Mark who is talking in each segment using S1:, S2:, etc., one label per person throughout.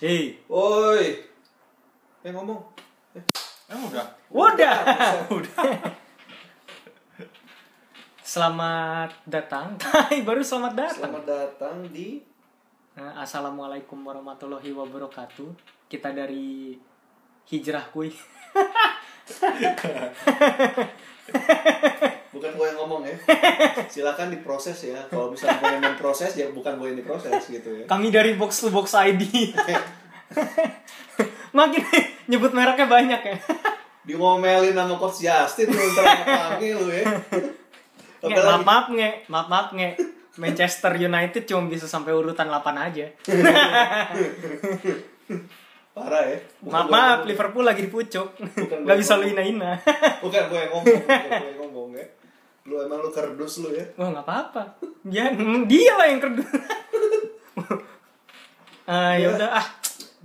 S1: Hei,
S2: Woi. Eh ngomong.
S3: Emang udah?
S1: udah, udah. Selamat datang, tai baru selamat datang.
S2: Selamat datang di
S1: Nah, Assalamualaikum warahmatullahi wabarakatuh. Kita dari hijrah kuy.
S2: bukan gue yang ngomong ya. Silakan diproses ya. Kalau misalnya gue yang memproses ya bukan gue yang diproses gitu ya.
S1: Kami dari box to box ID. Makin nyebut mereknya banyak ya.
S2: Diomelin sama coach Justin lu ntar ngapain lu ya.
S1: Nge, maaf maaf nge, maaf maaf nge. Manchester United cuma bisa sampai urutan 8 aja.
S2: Parah ya. Bukan
S1: Maaf maaf
S2: gua yang ngomong.
S1: Liverpool lagi di pucuk.
S2: Bukan
S1: Gak
S2: gua
S1: bisa lu
S2: ngomong.
S1: ina-ina.
S2: Bukan gue yang ngomong. Bukan gue yang ngomong ya. Lu emang lu kerdus lu ya.
S1: Wah nggak apa-apa. Dia hmm, dia lah yang kerdus. Ah ya udah ah.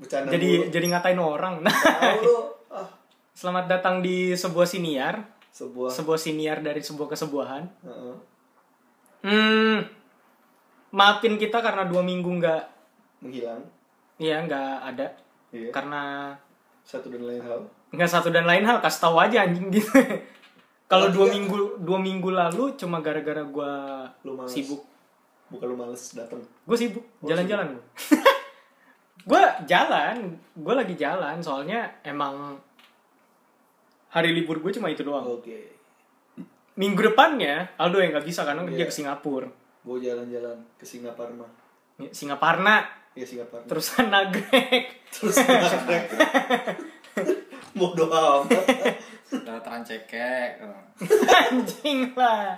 S2: Bercanda
S1: Jadi
S2: mulu.
S1: jadi ngatain orang. Nah,
S2: Tahu lu. Ah,
S1: selamat datang di sebuah siniar,
S2: sebuah
S1: sebuah siniar dari sebuah kesebuahan.
S2: Heeh.
S1: Hmm, maafin kita karena dua minggu nggak,
S2: menghilang.
S1: ya nggak ada,
S2: Iya.
S1: karena
S2: Satu dan lain hal.
S1: nggak satu dan lain hal. Kasih tahu aja anjing gitu. Kalau
S2: Tapi
S1: dua
S2: kan-
S1: minggu dua minggu lalu cuma gara-gara gua
S2: Lu males.
S1: sibuk
S2: Bukan lu males datang.
S1: gue sibuk jalan-jalan gue gue jalan gue lagi jalan soalnya emang hari libur gue cuma itu doang
S2: Oke.
S1: minggu depannya Aldo yang nggak bisa karena dia
S2: Iya.
S1: ke Singapura
S2: Gue jalan-jalan ke Singaparma.
S1: Singaparna
S2: Ya Singaparma.
S1: terusan nagrek
S2: Terus nagrek. Bodoh amat.
S3: Daratan cekek.
S1: anjing lah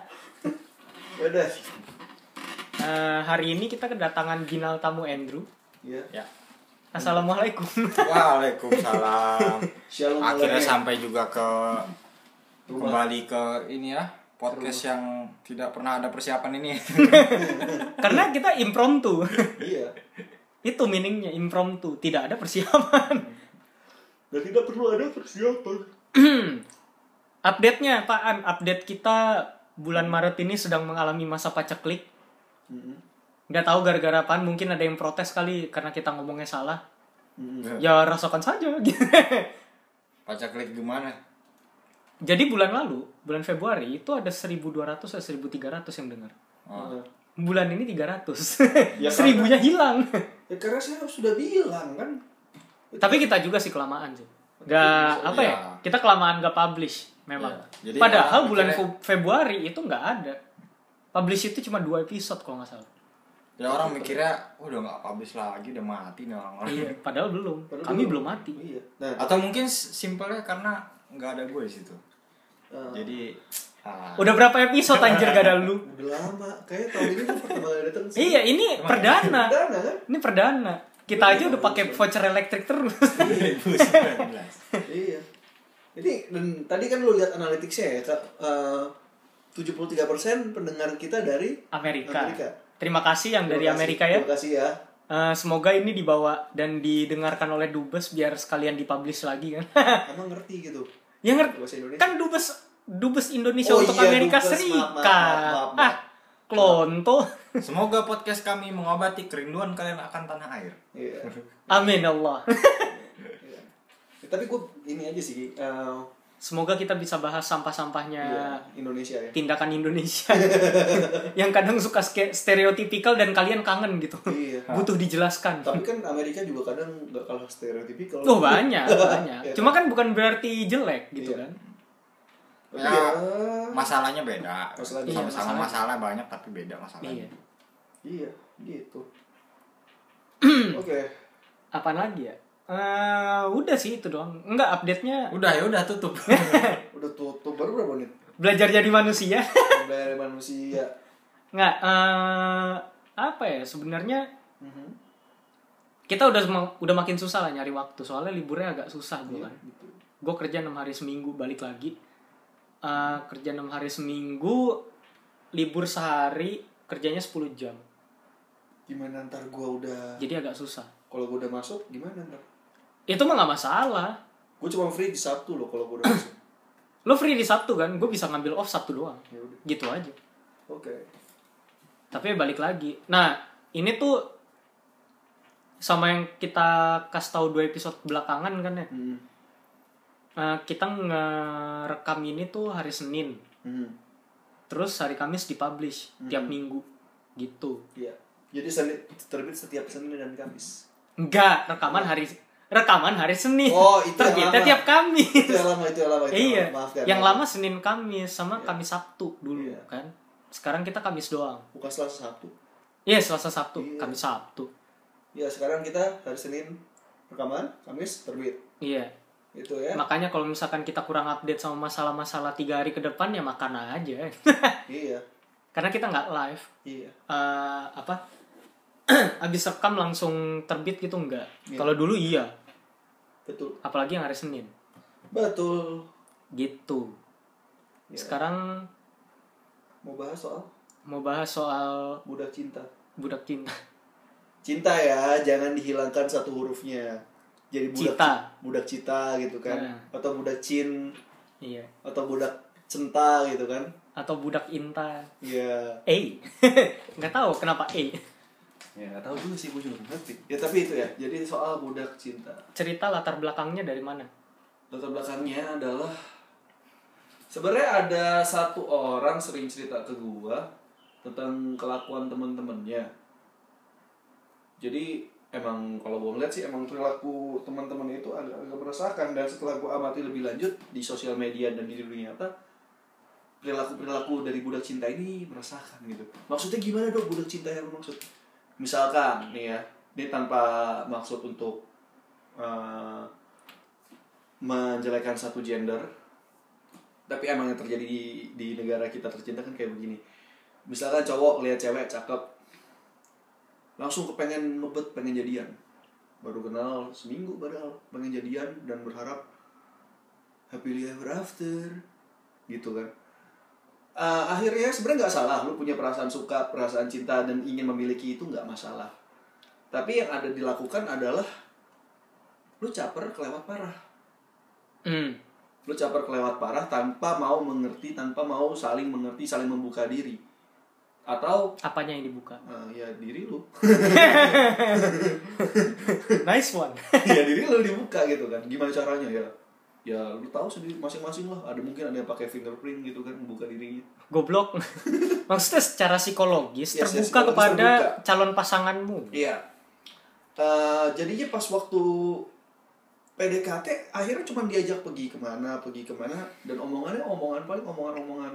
S2: Ya Udah.
S1: Eh, hari ini kita kedatangan ginal tamu Andrew
S2: Ya.
S3: Ya.
S1: assalamualaikum
S3: Waalaikumsalam.
S2: Shalom
S3: Akhirnya
S2: alaikum.
S3: sampai juga ke
S2: Rumah.
S3: kembali ke ini ya podcast yang tidak pernah ada persiapan ini.
S1: karena kita impromptu
S2: Iya.
S1: itu meaningnya impromptu tidak ada persiapan
S2: Dan tidak perlu ada persiapan.
S1: update nya apaan update kita bulan Maret ini sedang mengalami masa paceklik
S2: Mm-mm.
S1: nggak tahu gara-gara apaan mungkin ada yang protes kali karena kita ngomongnya salah
S2: Mm-mm.
S1: ya rasakan saja gitu.
S3: Baca klik gimana?
S1: jadi bulan lalu bulan Februari itu ada 1200 atau 1300 yang dengar
S3: Oh.
S2: Nah,
S1: bulan ini 300
S2: Ya,
S1: seribunya hilang
S2: Ya karena saya sudah bilang kan.
S1: tapi kita juga sih kelamaan sih nggak
S3: Bisa,
S1: apa ya
S3: iya.
S1: kita kelamaan nggak publish memang
S3: Iya. Jadi
S1: padahal
S3: orang
S1: bulan
S3: mikirnya-
S1: Fe- Februari itu nggak ada publish itu cuma dua episode kalau nggak salah
S3: Ya orang mikirnya udah nggak publish lagi, udah mati nih orang-orang.
S1: Iya, padahal belum.
S2: Padahal
S1: Kami belum mati.
S2: Iya. Nah,
S3: Atau mungkin s- simpelnya karena nggak ada gue di situ.
S2: eh,
S3: Jadi ah,
S1: Udah berapa episode anjir gak ada lu?
S2: udah lama. Kayaknya tahun ini tuh pertama kali datang. sih.
S1: Iya, ini perdana.
S2: Perdana kan?
S1: Ini perdana. Kita aja udah pakai voucher elektrik terus.
S3: 2019.
S2: iya. Jadi dan tadi kan lu lihat analitiknya ya, Kak. Eh, 73% pendengar kita dari
S1: Amerika.
S2: Amerika.
S1: Terima kasih yang dari
S2: Terima kasih.
S1: Amerika ya.
S2: Terima kasih ya.
S1: Eh, semoga ini dibawa dan didengarkan oleh Dubes biar sekalian dipublish lagi kan.
S2: Emang ngerti gitu.
S1: ya ngerti.
S2: Bahasa Indonesia.
S1: Kan Dubes Dubes Indonesia
S2: Oh
S1: untuk
S2: iya,
S1: Amerika
S2: Dubes. Maaf,
S1: Serikat.
S2: maaf, maaf, maaf, maaf.
S1: Ah, klonto.
S3: Semoga podcast kami mengobati kerinduan kalian akan tanah air.
S2: Iya.
S1: Amin Allah.
S2: Iya. Ya, tapi gue ini aja sih eh,
S1: semoga kita bisa bahas sampah-sampahnya
S2: iya, Indonesia ya.
S1: tindakan Indonesia yang kadang suka ske- stereotipikal dan kalian kangen gitu
S2: Iya.
S1: butuh dijelaskan
S2: Tapi kan Amerika juga kadang gak kalah stereotipikal.
S1: tuh banyak banyak
S2: Iya.
S1: cuma kan bukan berarti jelek gitu
S2: Iya.
S1: kan
S2: Tapi
S3: Ya,
S2: ya,
S3: masalahnya beda.
S2: Masalah-
S1: iya,
S3: Sama-sama
S1: masalahnya.
S3: masalah banyak tapi beda masalahnya.
S1: iya
S2: Iya, gitu. Oke.
S1: apaan lagi ya Eh, udah sih itu doang nggak update nya
S3: Udah ya udah tutup.
S2: Udah tutup baru berapa menit?
S1: belajar jadi manusia
S2: Dari manusia.
S1: nggak eh, apa ya sebenarnya
S2: Mhm.
S1: kita udah sem- udah makin susah lah nyari waktu soalnya liburnya agak susah gue kan
S2: gitu.
S1: gue kerja enam hari seminggu balik lagi Eh, kerja enam hari seminggu libur sehari kerjanya 10 jam
S2: Gimana ntar gue udah
S1: jadi agak susah
S2: kalau gue udah masuk gimana ntar?
S1: itu mah nggak masalah
S2: Gue cuma free di Sabtu loh kalau gue udah masuk.
S1: lo free di sabtu kan gue bisa ngambil off sabtu doang
S2: Ya udah.
S1: gitu aja
S2: Oke.
S1: tapi balik lagi nah ini tuh sama yang kita kasih tahu dua episode belakangan kan ya
S2: Hmm.
S1: Eh, kita ngerekam ini tuh hari Senin
S2: Hmm.
S1: terus hari Kamis dipublish tiap minggu gitu
S2: Iya. Jadi Senin- terbit setiap Senin dan Kamis.
S1: enggak rekaman hari rekaman hari Senin
S2: Oh, itu yang
S1: terbitnya
S2: lama.
S1: tiap Kamis
S2: Itu yang lama, itu yang lama. Itu yang
S1: iya
S2: lama. Maaf ya.
S1: yang
S2: maaf.
S1: lama Senin Kamis sama Kamis Sabtu dulu
S2: Iya.
S1: kan sekarang kita Kamis doang
S2: Bukan Selasa Sabtu.
S1: iya Selasa Sabtu
S2: Iya.
S1: Kamis Sabtu
S2: Ya sekarang kita hari Senin rekaman, Kamis terbit.
S1: iya
S2: Itu ya.
S1: makanya kalau misalkan kita kurang update sama masalah-masalah tiga hari ke depan ya makan aja
S2: Iya.
S1: karena kita nggak live
S2: Iya.
S1: eh apa abis rekam langsung terbit gitu enggak
S2: Iya.
S1: kalau dulu iya
S2: Betul.
S1: apalagi yang hari Senin
S2: Betul.
S1: gitu
S2: Iya.
S1: sekarang
S2: Mau bahas soal
S1: mau bahas soal
S2: budak cinta.
S1: budak cinta
S2: Cinta ya, jangan dihilangkan satu hurufnya. Jadi budak
S1: Cita.
S2: budak cita gitu kan.
S1: Nah.
S2: Atau budak cin
S1: iya
S2: atau budak centa gitu kan.
S1: atau budak inta
S2: Iya.
S1: eh nggak tahu kenapa eh
S3: Ya nggak tahu juga sih, gue juga nggak ngerti.
S2: Ya tapi itu ya. Jadi soal budak cinta.
S1: cerita latar belakangnya dari mana
S2: latar belakangnya adalah sebenarnya ada satu orang sering cerita ke gua tentang kelakuan teman-temannya jadi emang kalau gua ngeliat sih emang perilaku teman-teman itu agak, agak meresahkan dan setelah gua amati lebih lanjut di sosial media dan di dunia nyata perilaku perilaku dari budak cinta ini meresahkan gitu maksudnya gimana dong budak cinta yang lu maksud misalkan nih ya dia tanpa maksud untuk eh, menjelekan satu gender tapi emang yang terjadi di, di negara kita tercinta kan kayak begini misalkan cowok lihat cewek cakep langsung kepengen ngebet pengen jadian baru kenal seminggu padahal pengen jadian dan berharap happily ever after gitu kan Eh, akhirnya sebenarnya nggak salah lu punya perasaan suka perasaan cinta dan ingin memiliki itu nggak masalah tapi yang ada dilakukan adalah lu caper kelewat parah
S1: hmm
S2: lu caper kelewat parah tanpa mau mengerti tanpa mau saling mengerti saling membuka diri atau
S1: apanya yang dibuka
S2: eh, ya diri lu
S1: nice one
S2: ya diri lu dibuka gitu kan gimana caranya ya ya lu tahu sendiri masing-masing lah ada mungkin ada yang pakai fingerprint gitu kan membuka dirinya
S1: goblok maksudnya secara psikologis
S2: Yes, yes,
S1: terbuka
S2: psikologis
S1: kepada
S2: terbuka.
S1: calon pasanganmu
S2: iya Eh, jadinya pas waktu PDKT akhirnya cuma diajak pergi kemana pergi kemana dan omongannya omongan paling omongan-omongan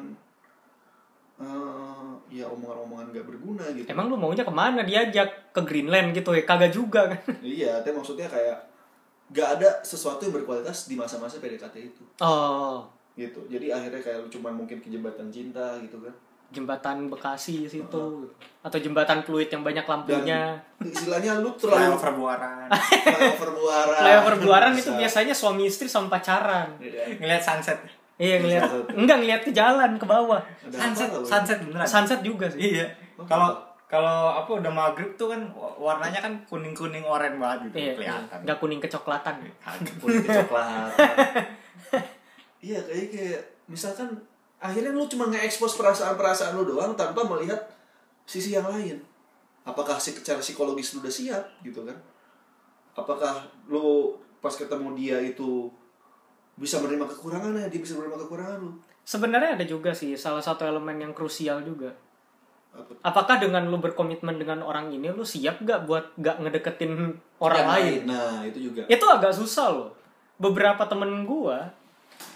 S2: eh, ya omongan-omongan gak berguna gitu
S1: emang lu maunya kemana diajak ke Greenland gitu ya kagak juga kan
S2: Iya, tapi maksudnya kayak gak ada sesuatu yang berkualitas di masa-masa PDKT itu.
S1: oh
S2: Gitu. Jadi akhirnya kayak lu cuman mungkin ke jembatan cinta gitu kan.
S1: jembatan Bekasi situ
S2: Oh.
S1: atau jembatan Pluit yang banyak lampunya
S2: Istilahnya lu terlalu
S3: Terlalu perbuaran.
S2: flyover buaran.
S1: flyover buaran itu
S2: Ah, Bisa.
S1: biasanya suami istri sama pacaran
S2: Iya.
S3: Ngeliat sunset.
S1: iya ngeliat enggak ngeliat ke jalan ke bawah
S2: Ada apa
S3: Sunset,
S2: lah lu?
S3: sunset beneran.
S1: sunset juga sih
S3: Iya. Kalau kalau apa udah maghrib tuh kan wa- warnanya kan kuning kuning oranye banget gitu
S1: iya, iya.
S3: kelihatan.
S1: nggak kuning kecoklatan
S3: Kagak.
S2: Kulit coklat. Iya, kayak kayak misalkan akhirnya lu cuma nge-expose perasaan-perasaan lu doang tanpa melihat sisi yang lain. Apakah secara psikologis lu udah siap gitu kan? Apakah lu pas ketemu dia itu bisa menerima kekurangannya, dia bisa menerima kekurangan lu?
S1: sebenarnya ada juga sih salah satu elemen yang krusial juga
S2: Apa?
S1: apakah dengan lu berkomitmen dengan orang ini lu siap gak buat gak ngedeketin orang
S2: Yang
S1: lain Ya.
S2: Nah, itu juga.
S1: itu agak susah loh beberapa temen gua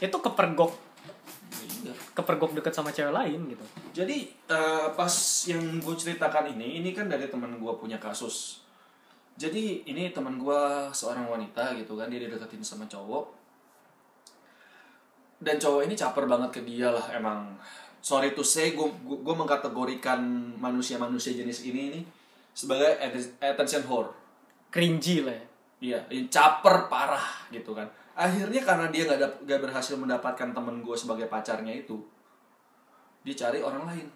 S1: itu kepergok
S2: Iya.
S1: kepergok deket sama cewek lain gitu
S2: Jadi eh, pas yang gue ceritakan ini, ini kan dari teman gue punya kasus. Jadi ini teman gue seorang wanita gitu kan, dia dideketin sama cowok. Dan cowok ini caper banget ke dia lah emang. Sorry to say, gue gue mengkategorikan manusia-manusia jenis ini nih sebagai atten- attention whore.
S1: cringy lah ya
S2: Iya, ini caper parah gitu kan. Akhirnya karena dia nggak dap- nggak berhasil mendapatkan temen gue sebagai pacarnya itu, dia cari orang lain.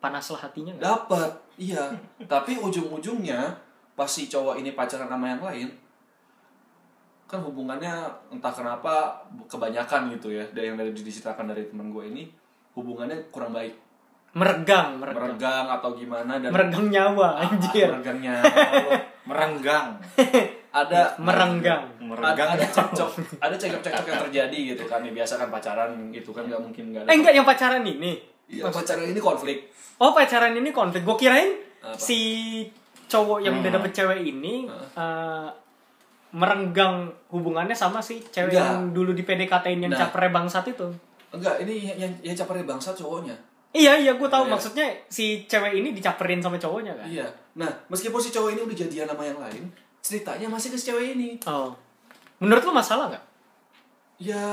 S1: panaslah hatinya nggak
S2: Dapat, iya. Tapi ujung-ujungnya pas si cowok ini pacaran sama yang lain, kan hubungannya entah kenapa kebanyakan gitu ya. Dari yang dari diceritakan dari teman gue ini, hubungannya kurang baik,
S1: meregang meregang
S2: meregang atau gimana dan
S1: meregang nyawa
S2: Ah,
S1: anjir
S2: meregangnya.
S3: merenggang
S2: ada
S1: merenggang
S3: merenggang
S2: ada cekcok ada cekcok-cekcok yang terjadi gitu kan ya biasa kan pacaran itu kan nggak mungkin nggak ada
S1: eh enggak yang pacaran ini
S2: Iya, pacaran ini konflik
S1: oh pacaran ini konflik gue kirain
S2: Apa? Hmm.
S1: si cowok yang udah dapet cewek ini eh, merenggang hubungannya sama si cewek
S2: Enggak.
S1: yang dulu di PDKT-in yang
S2: Nah.
S1: capre bangsat itu
S2: enggak ini yang yang capernya bangsa cowoknya
S1: iya iya gue tahu
S2: Iya.
S1: maksudnya si cewek ini dicaperin sama cowoknya kan
S2: iya nah meskipun si cowok ini udah jadian sama yang lain ceritanya masih ke si cewek ini
S1: oh menurut lu masalah nggak
S2: ya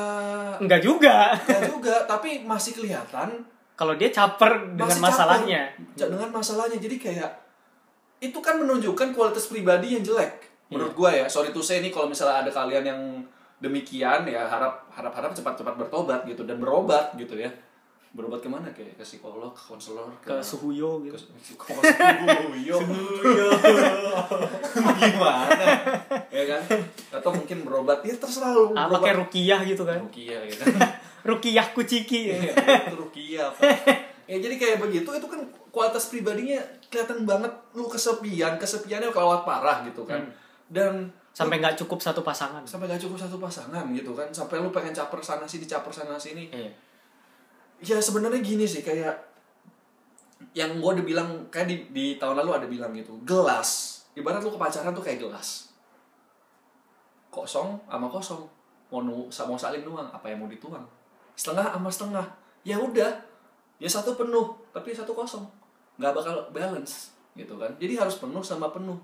S1: enggak juga
S2: ya juga tapi masih kelihatan
S1: kalau dia caper dengan
S2: masih
S1: masalahnya
S2: caper. Ja- dengan masalahnya jadi kayak itu kan menunjukkan kualitas pribadi yang jelek menurut
S1: Iya.
S2: gua ya sorry to say ini kalau misalnya ada kalian yang demikian ya harap harap harap cepat cepat bertobat gitu dan berobat gitu ya berobat kemana kayak ke psikolog ke konselor
S1: ke suhuyo gitu
S2: ke suhuyo
S3: gimana
S2: ya kan atau mungkin berobat ya terserah lu
S1: ah,
S2: berobat.
S1: pakai rukiah gitu kan
S2: rukiah gitu
S1: rukiah kuciki
S2: Iya, itu rukiah apa ya jadi kayak begitu itu kan kualitas pribadinya kelihatan banget lu kesepian kesepiannya kelewat parah gitu kan dan
S1: Hmm. sampai nggak cukup satu pasangan
S2: sampai gak cukup satu pasangan gitu kan sampai lu pengen caper sana sini caper sana sini
S1: iya
S2: ya sebenarnya gini sih kayak yang gue udah bilang kayak di, di tahun lalu ada bilang gitu gelas ibarat lu ke pacaran tuh kayak gelas kosong sama kosong mau nu sa- mau saling nuang apa yang mau dituang setengah sama setengah ya udah ya satu penuh tapi satu kosong nggak bakal balance gitu kan jadi harus penuh sama penuh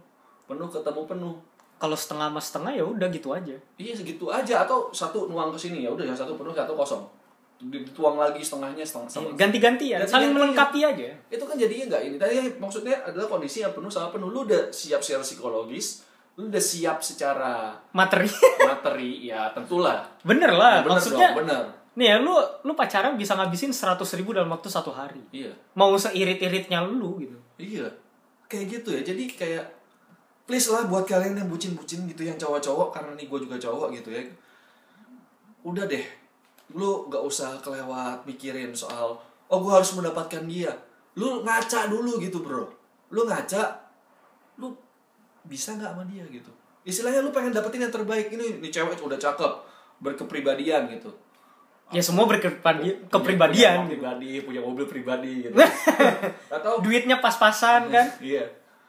S2: penuh ketemu penuh
S1: kalau setengah sama setengah ya udah gitu aja
S2: Iya segitu aja atau satu nuang ke sini ya udah yang satu penuh satu kosong. Dituang lagi setengahnya setengah sama.
S1: ganti-ganti ya saling
S2: Ganti-gantian.
S1: melengkapi aja
S2: Itu kan jadinya nggak ini. Tadi maksudnya adalah kondisi yang penuh sama penuh. Lu udah siap secara psikologis, lu udah siap secara
S1: materi
S2: materi ya tentulah.
S1: bener lah
S2: Ya, bener
S1: Ah, maksudnya
S2: dong, bener.
S1: nih ya lu lu pacaran bisa ngabisin 100.000 ribu dalam waktu satu hari
S2: Iya.
S1: mau seirit-iritnya lu gitu
S2: Iya. Kayak gitu ya. Jadi kayak please lah buat kalian yang bucin-bucin gitu yang cowok-cowok karena nih gue juga cowok gitu ya. Udah deh. Lu gak usah kelewat mikirin soal oh gue harus mendapatkan dia. Lu ngaca dulu gitu, Bro. Lu ngaca lu bisa nggak sama dia gitu. Istilahnya lu pengen dapetin yang terbaik ini nih cewek udah cakep, berkepribadian gitu.
S1: ya semua
S2: iya,
S1: berkepribadian kepribadian gitu.
S2: Punya rumah pribadi, punya mobil pribadi gitu. Atau
S1: duitnya pas-pasan kan
S2: iya.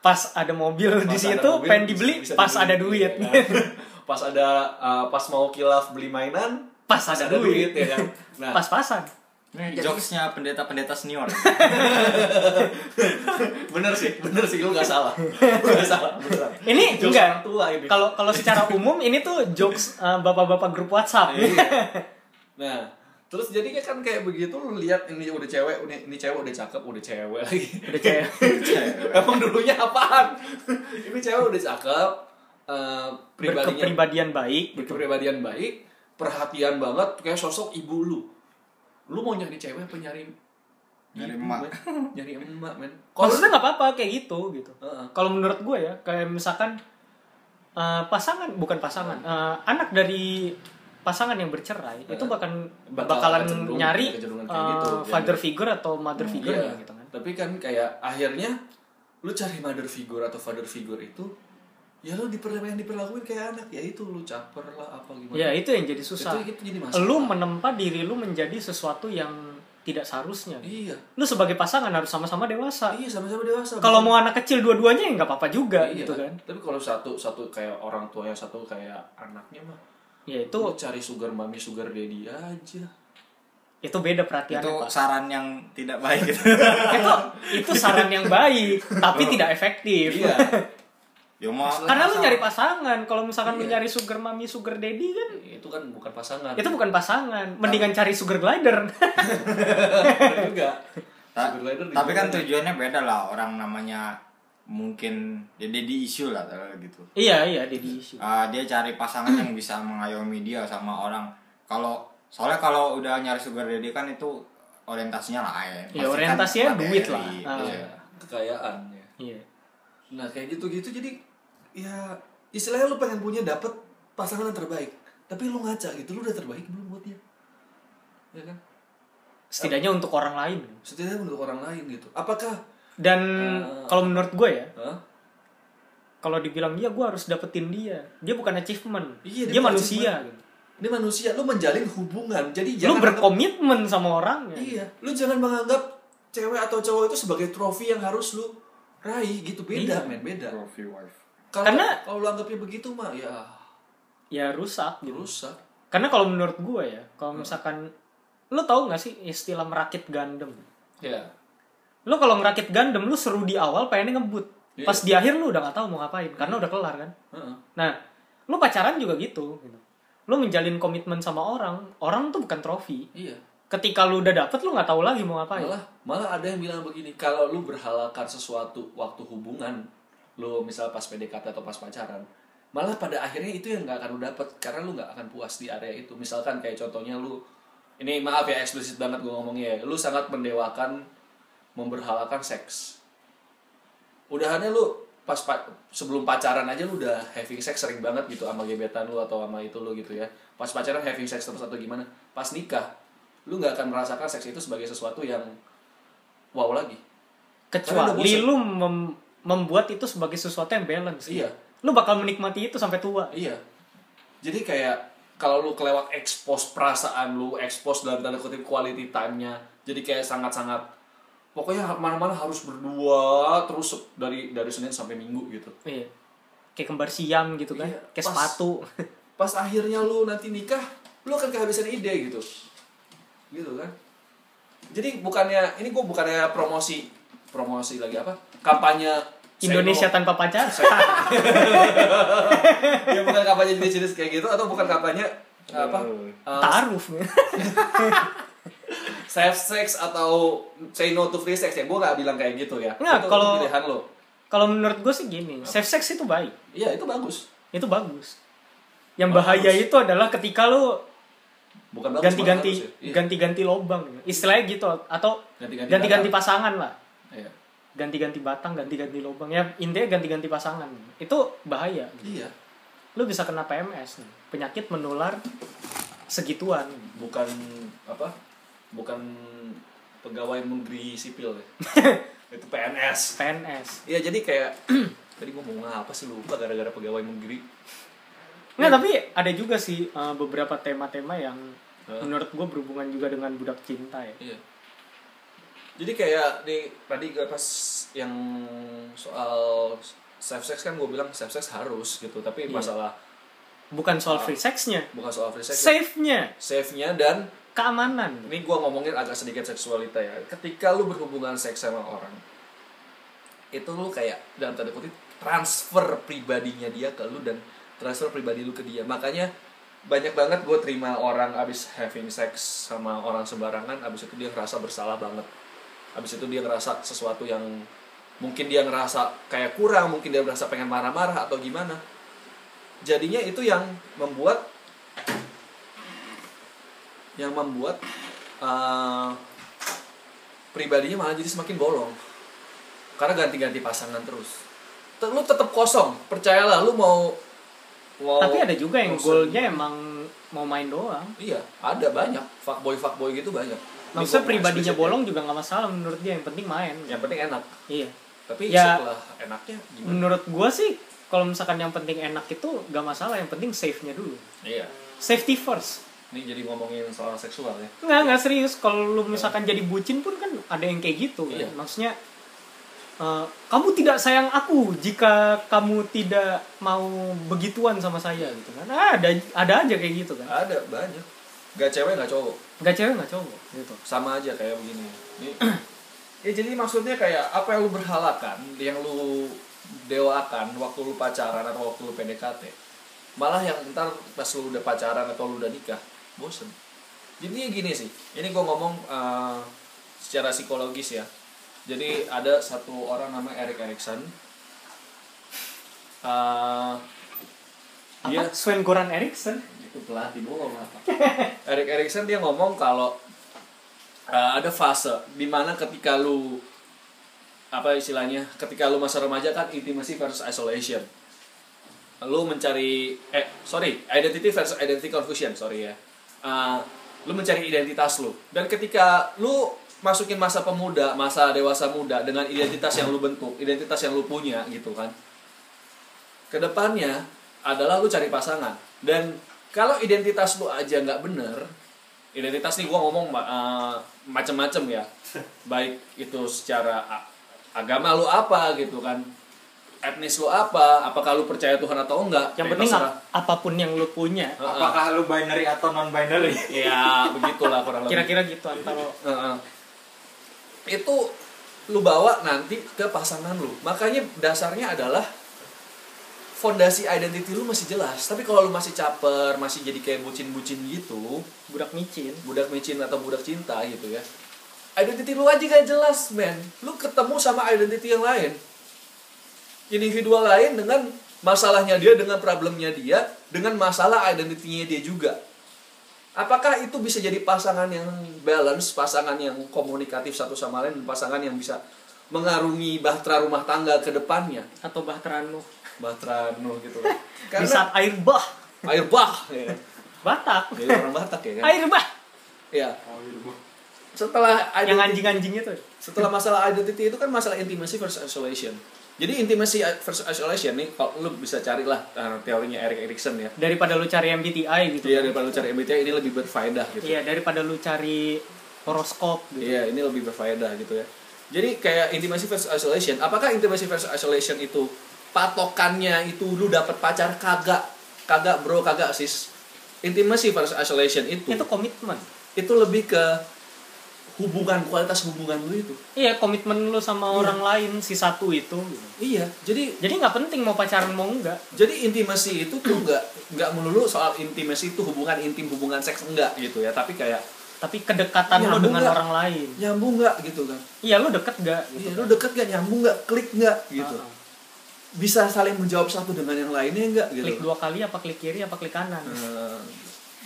S1: pas ada mobil di
S2: Pas ada
S1: situ
S2: mobil,
S1: pengen
S2: bisa-
S1: dibeli
S2: bisa
S1: pas
S2: dibeli.
S1: ada duit Gitu.
S2: Iya kan? pas ada uh, pas mau kilaf beli mainan
S1: Pas ada duit.
S2: ya kan nah
S1: pas-pasan
S3: ini jokesnya pendeta-pendeta senior
S2: bener sih bener sih lu nggak salah lu nggak salah beneran
S1: ini
S2: Jokes
S1: enggak
S2: orang tua ini
S1: kalau kalau secara umum ini tuh jokes eh, bapak-bapak grup WhatsApp
S2: Iya. nah terus jadinya kan kayak begitu lu lihat ini udah cewek ini, ini cewek udah cakep udah cewek lagi
S1: udah kayak
S2: emang dulunya apaan ini cewek udah cakep uh, pribadinya
S1: berkepribadian baik
S2: berkepribadian baik, perhatian banget, kayak sosok ibu lu. Lu mau nyari cewek apa nyari
S3: Nyari
S2: ibu,
S3: emak.
S2: men? Nyari emak, men.
S1: kalau
S2: Kos-
S1: itu nggak apa-apa kayak gitu gitu
S2: Heeh.
S1: kalau menurut gue ya kayak misalkan eh, pasangan bukan pasangan eh, anak dari pasangan yang bercerai itu bahkan
S2: Bakal
S1: bakalan
S2: kecenderungan-
S1: nyari
S2: kecenderungan kayak gitu,
S1: eh,
S2: jadi-
S1: father figure atau mother figure
S2: Iya,
S1: gitu kan
S2: Tapi kan kayak akhirnya lu cari mother figure atau father figure itu ya lu diper yang diperlakuin kayak anak ya itu lu caper lah apa gimana.
S1: ya itu yang jadi susah
S2: Itu- itu jadi masalah.
S1: lu menempa diri lu menjadi sesuatu yang tidak seharusnya
S2: Iya.
S1: lu sebagai pasangan harus sama-sama dewasa
S2: Iya sama-sama dewasa.
S1: kalau mau anak kecil dua-duanya ya nggak apa-apa juga
S2: Iya,
S1: gitu kan
S2: Tapi kalau satu satu kayak orang tuanya satu kayak anaknya mah
S1: ya itu
S2: lu cari sugar mami sugar daddy aja.
S1: itu beda perhatiannya
S3: itu
S1: pak
S3: saran yang tidak baik gitu
S1: itu itu saran yang baik tapi tidak efektif
S2: Iya.
S3: ya mau
S1: karena lu nyari pasangan kalau misalkan lu
S2: Iya.
S1: nyari sugar mami sugar daddy kan
S2: itu kan bukan pasangan
S1: itu bukan pasangan mendingan cari sugar glider
S2: Bener juga
S3: Ta-
S2: Sugar glider
S3: tapi kan
S2: dijual.
S3: tujuannya beda lah orang namanya mungkin ya daddy issue lah kalau gitu
S1: iya iya daddy issue
S3: Ah, dia cari pasangan yang bisa mengayomi dia sama orang kalau soalnya kalau udah nyari sugar daddy kan itu orientasinya lain
S1: Ya,
S3: Pasti kan
S1: orientasinya
S3: materi,
S1: duit lah. Ah.
S3: iya.
S2: kekayaan ya
S1: iya
S2: nah kayak gitu gitu jadi ya istilahnya lu pengen punya dapet pasangan yang terbaik tapi lu ngaca gitu lu udah terbaik belum buat dia ya kan
S1: setidaknya untuk orang lain
S2: setidaknya untuk orang lain gitu apakah
S1: dan
S2: Ah.
S1: kalau menurut gue ya
S2: Hah?
S1: kalau dibilang dia gue harus dapetin dia dia bukan achievement
S2: Iya,
S1: dia,
S2: dia bukan
S1: manusia
S2: achievement. Ini manusia, lu menjalin hubungan.
S1: lu
S2: Jadi jangan anggap-
S1: berkomitmen sama orangnya
S2: Iya, lu jangan menganggap cewek atau cowok itu sebagai trofi yang harus lu raih gitu
S1: Iya.
S2: beda, men, beda.
S3: Trophy wife.
S2: Kalau
S1: Karena-
S2: kalau lu anggapnya begitu mah ya
S1: ya rusak gitu
S2: rusak.
S1: karena kalau menurut gue ya
S2: Hmm.
S1: kalau misalkan lu tahu nggak sih istilah merakit Gundam
S2: Ya.
S1: lu kalau ngerakit Gundam lu seru di awal pengennya ngebut
S2: Iya.
S1: pas di akhir lu udah nggak tahu mau ngapain karena udah kelar kan
S2: Heeh.
S1: Nah, lu pacaran juga gitu.
S2: Iya.
S1: gitu. Lu menjalin komitmen sama orang, orang tuh bukan trofi.
S2: Iya.
S1: Ketika lu udah dapet, lu nggak tahu lagi mau ngapain.
S2: Malah malah ada yang bilang begini, kalau lu berhalalkan sesuatu waktu hubungan, lu misal pas PDKT atau pas pacaran, malah pada akhirnya itu yang nggak akan lu dapat karena lu nggak akan puas di area itu. Misalkan kayak contohnya lu ini maaf ya eksplisit banget gue ngomongnya ya, lu sangat mendewakan memberhalakan seks. Udahannya lu pas pa- sebelum pacaran aja lu udah having sex sering banget gitu sama gebetan lu atau sama itu lu gitu ya. Pas pacaran having sex terus atau gimana? Pas nikah lu nggak akan merasakan seks itu sebagai sesuatu yang wow lagi. Karena udah
S1: Kecuali
S2: bosen.
S1: lu mem- membuat itu sebagai sesuatu yang balance. gitu.
S2: Iya.
S1: Lu bakal menikmati itu sampai tua.
S2: Iya. Jadi kayak kalau lu kelewat expose perasaan lu, expose dalam tanda kutip quality time-nya. Jadi kayak sangat-sangat pokoknya mana-mana harus berdua terus se- dari dari Senin sampai Minggu gitu.
S1: Iya. Kayak kembar siam gitu kan.
S2: Iya,
S1: Kayak
S2: pas.
S1: sepatu.
S2: Pas akhirnya lu nanti nikah, lu akan kehabisan ide gitu. Gitu kan? Jadi bukannya ini gue bukannya promosi promosi lagi apa? Kampanye
S1: Indonesia
S2: Say No-
S1: tanpa pacar.
S2: ya bukan kampanye jenis-jenis kayak gitu atau bukan kampanye apa? eh,
S1: Taruf.
S2: safe sex atau say no to free sex ya gue gak bilang kayak gitu ya
S1: Nggak,
S2: Itu- itu
S1: kalau-
S2: pilihan lo
S1: kalau menurut gue sih gini, safe sex itu baik.
S2: iya itu bagus
S1: Itu bagus. Yang bahaya
S2: Bagus.
S1: itu adalah ketika lu
S2: bukan bagus
S1: ganti-ganti
S2: malah bagus ya. Iya.
S1: ganti-ganti lobang istilahnya gitu atau
S2: Ganti-ganti
S1: ganti-ganti
S2: batang.
S1: pasangan lah
S2: iya
S1: ganti-ganti batang ganti-ganti lobang ya intinya ganti-ganti pasangan itu bahaya
S2: Iya.
S1: lu bisa kena PMS nih. penyakit menular segituan
S2: bukan apa bukan pegawai negeri sipil ya itu PNS
S1: PNS
S2: iya jadi kayak tadi gue mau ngomong apa sih lupa gara-gara pegawai negeri
S1: nggak
S2: Iya.
S1: tapi ada juga sih uh, beberapa tema-tema yang
S2: Hah?
S1: menurut gue berhubungan juga dengan budak cinta ya
S2: Iya. Jadi kayak di tadi gue pas yang soal safe sex kan gue bilang safe sex harus gitu, tapi
S1: Iya.
S2: masalah
S1: bukan soal free sexnya
S2: bukan soal free sex. ya.
S1: safe-nya
S2: Safe-nya dan
S1: keamanan
S2: ini gue ngomongin agak sedikit seksualita ya. Ketika lu berhubungan seks sama orang, itu lu kayak dalam tanda kutip transfer pribadinya dia ke lu dan transfer pribadi lu ke dia. Makanya banyak banget gue terima orang abis having sex sama orang sembarangan, abis itu dia ngerasa bersalah banget. Abis itu dia ngerasa sesuatu yang mungkin dia ngerasa kayak kurang, mungkin dia ngerasa pengen marah-marah atau gimana. Jadinya itu yang membuat yang membuat eh, pribadinya malah jadi semakin bolong karena ganti-ganti pasangan terus Te- lu tetap kosong percayalah lu mau mau
S1: tapi ada juga yang
S2: mau se-
S1: goalnya emang mau main doang
S2: iya ada banyak fuckboy fuckboy gitu banyak Ini
S1: maksudnya
S2: gua mau
S1: pribadinya
S2: eksplisit ya.
S1: bolong juga nggak masalah menurut dia yang penting main
S2: yang penting enak
S1: iya
S2: tapi
S1: Ya.
S2: setelah enaknya gimana
S1: menurut gua sih kalau misalkan yang penting enak itu gak masalah yang penting safe nya dulu
S2: iya
S1: safety first
S2: ini jadi ngomongin soal seksual ya
S1: nggak nggak serius kalau lu misalkan jadi bucin pun kan ada yang kayak gitu kan.
S2: Iya.
S1: maksudnya eh, kamu tidak sayang aku jika kamu tidak mau begituan sama saya gitu kan Ah, ada ada aja kayak gitu kan
S2: ada banyak gak cewek gak cowok
S1: nggak cewek nggak cowok gitu
S2: sama aja kayak begini Ini- ya jadi maksudnya kayak apa yang lu berhalakan yang lu dewakan waktu lu pacaran atau waktu lu PDKT malah yang ntar pas lu udah pacaran atau lu udah nikah bosen jadinya gini sih ini gua ngomong eh, secara psikologis ya jadi ada satu orang nama Erik Erikson Eh,
S1: apa
S2: dia
S1: Sven Goran Eriksson
S2: itu pelatih bola apa? Erik Erikson dia ngomong kalau uh, ada fase dimana ketika lu apa istilahnya ketika lu masa remaja kan intimacy versus isolation lu mencari eh sorry identity versus identity confusion sorry ya Uh, lu mencari identitas lu dan ketika lu masukin masa pemuda masa dewasa muda dengan identitas yang lu bentuk identitas yang lu punya gitu kan kedepannya adalah lu cari pasangan dan kalau identitas lu aja nggak bener identitas nih gua ngomong eh, macem-macem ya baik itu secara a- agama lu apa gitu kan etnis lu apa apakah lu percaya Tuhan atau enggak
S1: Yang
S2: ya
S1: penting
S2: terserah.
S1: ap- apapun yang lu punya,
S3: Apakah lu binary atau non binary?
S2: ya begitulah kurang lebih
S1: kira-kira gitu antara
S2: Heeh. itu lu bawa nanti ke pasangan lu makanya dasarnya adalah fondasi identity lu masih jelas tapi kalau lu masih caper masih jadi kayak bucin-bucin gitu
S1: budak micin.
S2: budak micin atau budak cinta gitu ya identity lu aja gak jelas men lu ketemu sama identity yang lain individual lain dengan masalahnya dia dengan problemnya dia dengan masalah identitinya dia juga apakah itu bisa jadi pasangan yang balance pasangan yang komunikatif satu sama lain dan pasangan yang bisa mengarungi bahtera rumah tangga ke depannya
S1: atau bahtera Nuh.
S2: bahtera nu gitu
S1: Di saat air bah,
S2: air bah ya.
S1: Batak.
S2: Jadi orang Batak ya kan
S1: Air bah,
S2: ya setelah
S1: yang
S2: identity-
S1: anjing-anjingnya tuh.
S2: setelah masalah identity itu kan masalah intimacy versus isolation jadi intimacy versus isolation nih kalau lu bisa carilah uh, teorinya Erik Erikson ya
S1: Daripada lu cari MBTI gitu.
S2: iya daripada lu cari MBTI ini lebih berfaedah gitu
S1: Iya, daripada lu cari horoskop gitu.
S2: Iya, ini lebih berfaedah gitu ya. Jadi kayak intimasi versus isolation, apakah intimasi versus isolation itu patokannya itu lu dapat pacar kagak? Kagak, Bro, kagak, Sis. Intimasi versus isolation itu itu,
S1: Itu komitmen.
S2: lebih ke hubungan kualitas hubungan lu itu.
S1: Iya, komitmen lu sama orang lain si satu itu. gitu.
S2: Iya, jadi
S1: Jadi nggak penting mau pacaran mau enggak.
S2: jadi intimasi itu tuh nggak nggak melulu soal intimasi itu hubungan intim hubungan seks enggak gitu ya tapi kayak
S1: Tapi kedekatan
S2: Iya,
S1: lu
S2: lu
S1: dengan
S2: nggak.
S1: orang lain.
S2: nyambung nggak gitu kan
S1: Iya, lu deket nggak gitu.
S2: Iya, lu deket gak nyambung nggak klik nggak gitu
S1: Ah, ah.
S2: bisa saling menjawab satu dengan yang lainnya nggak gitu
S1: Klik dua kali apa klik kiri apa klik kanan.
S2: Eh,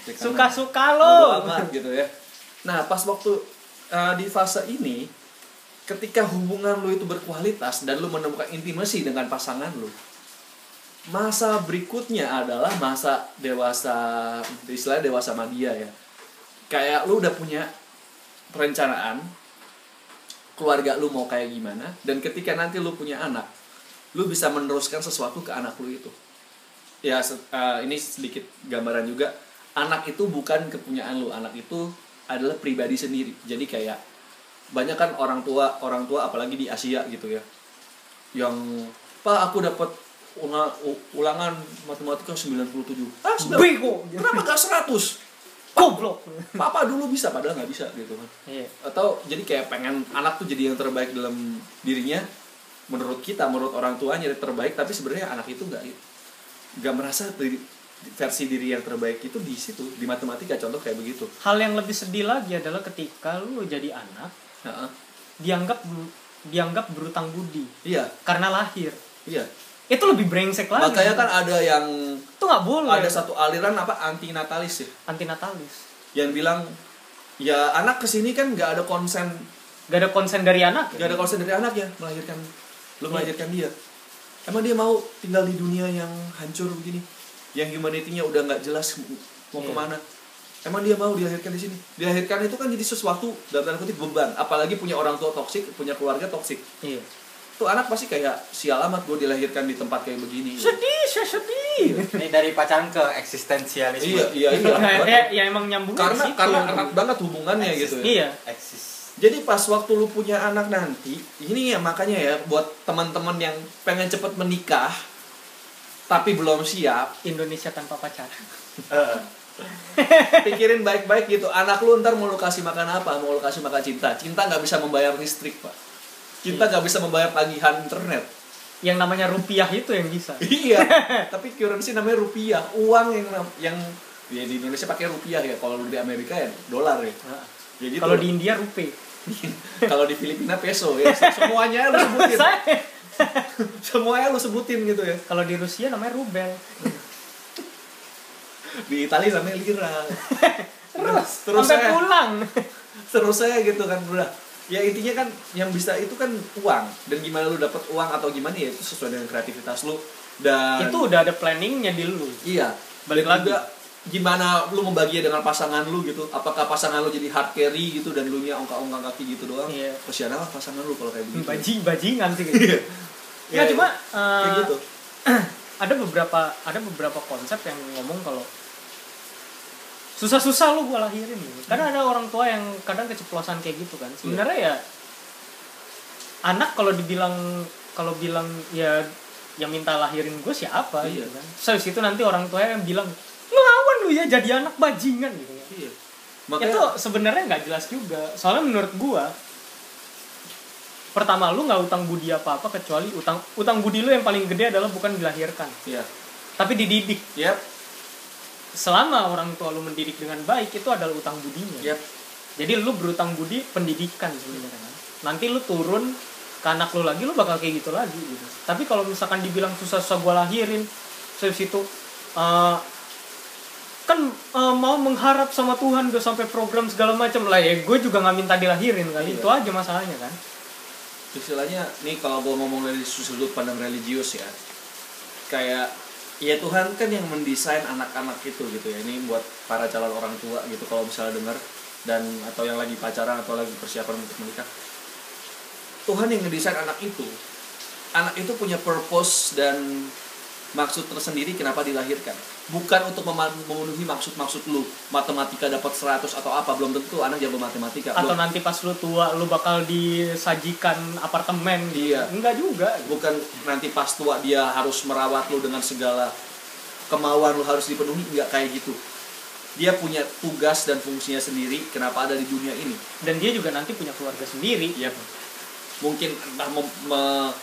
S2: klik kanan.
S1: Suka-suka lu.
S2: Bodo amat gitu ya nah pas waktu eh, di fase ini ketika hubungan lu itu berkualitas dan lu menemukan intimasi dengan pasangan lu masa berikutnya adalah masa dewasa istilah dewasa media ya kayak lu udah punya perencanaan keluarga lu mau kayak gimana dan ketika nanti lu punya anak lu bisa meneruskan sesuatu ke anak lu itu ya se- eh, ini sedikit gambaran juga anak itu bukan kepunyaan lu anak itu adalah pribadi sendiri jadi kayak banyak kan orang tua orang tua apalagi di Asia gitu ya yang pak aku dapat ula- u- ulangan matematika 97 ah 90.
S1: Bego.
S2: kenapa gak 100
S1: Goblok.
S2: papa dulu bisa padahal nggak bisa gitu kan
S1: Iya.
S2: atau jadi kayak pengen anak tuh jadi yang terbaik dalam dirinya menurut kita menurut orang tuanya terbaik tapi sebenarnya anak itu nggak nggak merasa diri- versi diri yang terbaik itu di situ di matematika contoh kayak begitu
S1: Hal yang lebih sedih lagi adalah ketika lu jadi anak
S2: Heeh.
S1: dianggap dianggap berutang budi
S2: iya
S1: karena lahir.
S2: iya
S1: Itu lebih brengsek lagi.
S2: makanya kan ada yang
S1: itu nggak boleh.
S2: ada satu aliran apa anti natalis ya
S1: antinatalis.
S2: yang bilang ya anak kesini kan nggak ada konsen
S1: Gak ada konsen dari anak.
S2: nggak ada konsen dari anaknya melahirkan lu
S1: Iya.
S2: melahirkan dia emang dia mau tinggal di dunia yang hancur begini yang humanity-nya udah nggak jelas mau
S1: Iya.
S2: kemana emang dia mau dilahirkan di sini dilahirkan itu kan jadi sesuatu dalam tanda kutip beban apalagi punya orang tua toksik punya keluarga toksik
S1: Iya.
S2: tuh anak pasti kayak sial amat gue dilahirkan di tempat kayak begini
S1: Sedih, saya sedih.
S3: Ini dari pacaran ke eksistensialisme.
S2: iya iya iya
S1: Nah, ya, ya emang nyambung
S2: karena karena erat banget hubungannya gitu ya.
S1: Iya.
S3: Eksis.
S2: Jadi pas waktu lu punya anak nanti, ini ya makanya ya buat teman-teman yang pengen cepet menikah tapi belum siap,
S1: Indonesia tanpa pacar.
S3: Eh,
S2: pikirin baik-baik gitu. Anak lu ntar mau lu kasih makan apa? Mau lu kasih makan cinta? Cinta nggak bisa membayar listrik pak. Cinta
S1: Iya.
S2: nggak bisa membayar tagihan internet.
S1: Yang namanya rupiah itu yang bisa.
S2: iya. Tapi currency namanya rupiah, uang yang yang ya di Indonesia pakai rupiah ya. Kalau di Amerika ya dolar ya.
S1: Nah,
S2: Ya gitu.
S1: Kalau di India rupiah.
S2: kalau di Filipina peso ya. Semuanya lu sebutin.
S1: Saya-
S2: Semuanya lu sebutin gitu ya.
S1: Kalau di Rusia namanya rubel.
S2: di Italia namanya lira terus terus
S1: Sampai
S2: saya
S1: pulang.
S2: terus saya gitu kan udah ya intinya kan yang bisa itu kan uang dan gimana lu dapat uang atau gimana ya itu sesuai dengan kreativitas lu dan
S1: itu udah ada planningnya di lu.
S2: iya
S1: Balik
S2: Dan
S1: lagi.
S2: juga gimana lu membaginya dengan pasangan lu gitu apakah pasangan lu jadi hard carry gitu dan lu nya ongkang-ongkang kaki gitu doang
S1: Iya.
S2: kesian amat pasangan lu kalau kayak begitu
S1: Bajing bajingan sih.
S2: Iya.
S1: Ya,
S2: Iya,
S1: cuma
S2: kayak
S1: gitu. eh,
S2: gitu
S1: ada beberapa ada beberapa konsep yang ngomong kalau susah-susah lu gua lahirin gitu.
S2: Hmm.
S1: Karena ada orang tua yang kadang keceplosan kayak gitu
S2: Iya.
S1: kan. Sebenarnya ya anak kalau dibilang kalau bilang ya yang minta lahirin gue siapa
S2: Iya.
S1: gitu kan. So itu nanti orang tuanya yang bilang ngelawan lu ya jadi anak bajingan gitu kan.
S2: Iya.
S1: Itu
S2: Makanya
S1: sebenarnya nggak jelas juga. Soalnya menurut gua pertama lu nggak utang budi apa-apa kecuali utang utang budi lu yang paling gede adalah bukan dilahirkan,
S2: iya.
S1: tapi dididik.
S2: Yep,
S1: Selama orang tua lu mendidik dengan baik itu adalah utang budinya.
S2: yep.
S1: Jadi lu berutang budi pendidikan sebenarnya kan. Nanti lu turun ke anak lu lagi lu bakal kayak gitu lagi gitu. Tapi kalau misalkan dibilang susah-susah gua lahirin, terus itu eh, kan eh, mau mengharap sama Tuhan udah sampai program segala macam lah ya gue juga nggak minta dilahirin kali
S2: Iya.
S1: itu aja masalahnya kan
S2: Istilahnya nih kalau gua ngomong dari sudut pandang religius ya. Kayak ya Tuhan kan yang mendesain anak-anak itu gitu ya. Ini buat para calon orang tua gitu kalau misalnya dengar dan atau yang lagi pacaran atau lagi persiapan untuk menikah. Tuhan yang ngedesain anak itu. Anak itu punya purpose dan maksud tersendiri kenapa dilahirkan. Bukan untuk mema- memenuhi maksud-maksud lu. Matematika dapat 100 atau apa belum tentu anak jago matematika.
S1: atau
S2: Belum-
S1: nanti pas lu tua lu bakal disajikan apartemen gitu.
S2: Iya.
S1: enggak juga gitu.
S2: bukan nanti pas tua dia harus merawat lu dengan segala kemauan lu harus dipenuhi nggak kayak gitu dia punya tugas dan fungsinya sendiri kenapa ada di dunia ini
S1: dan dia juga nanti punya keluarga sendiri
S2: ya mungkin entah mem- me-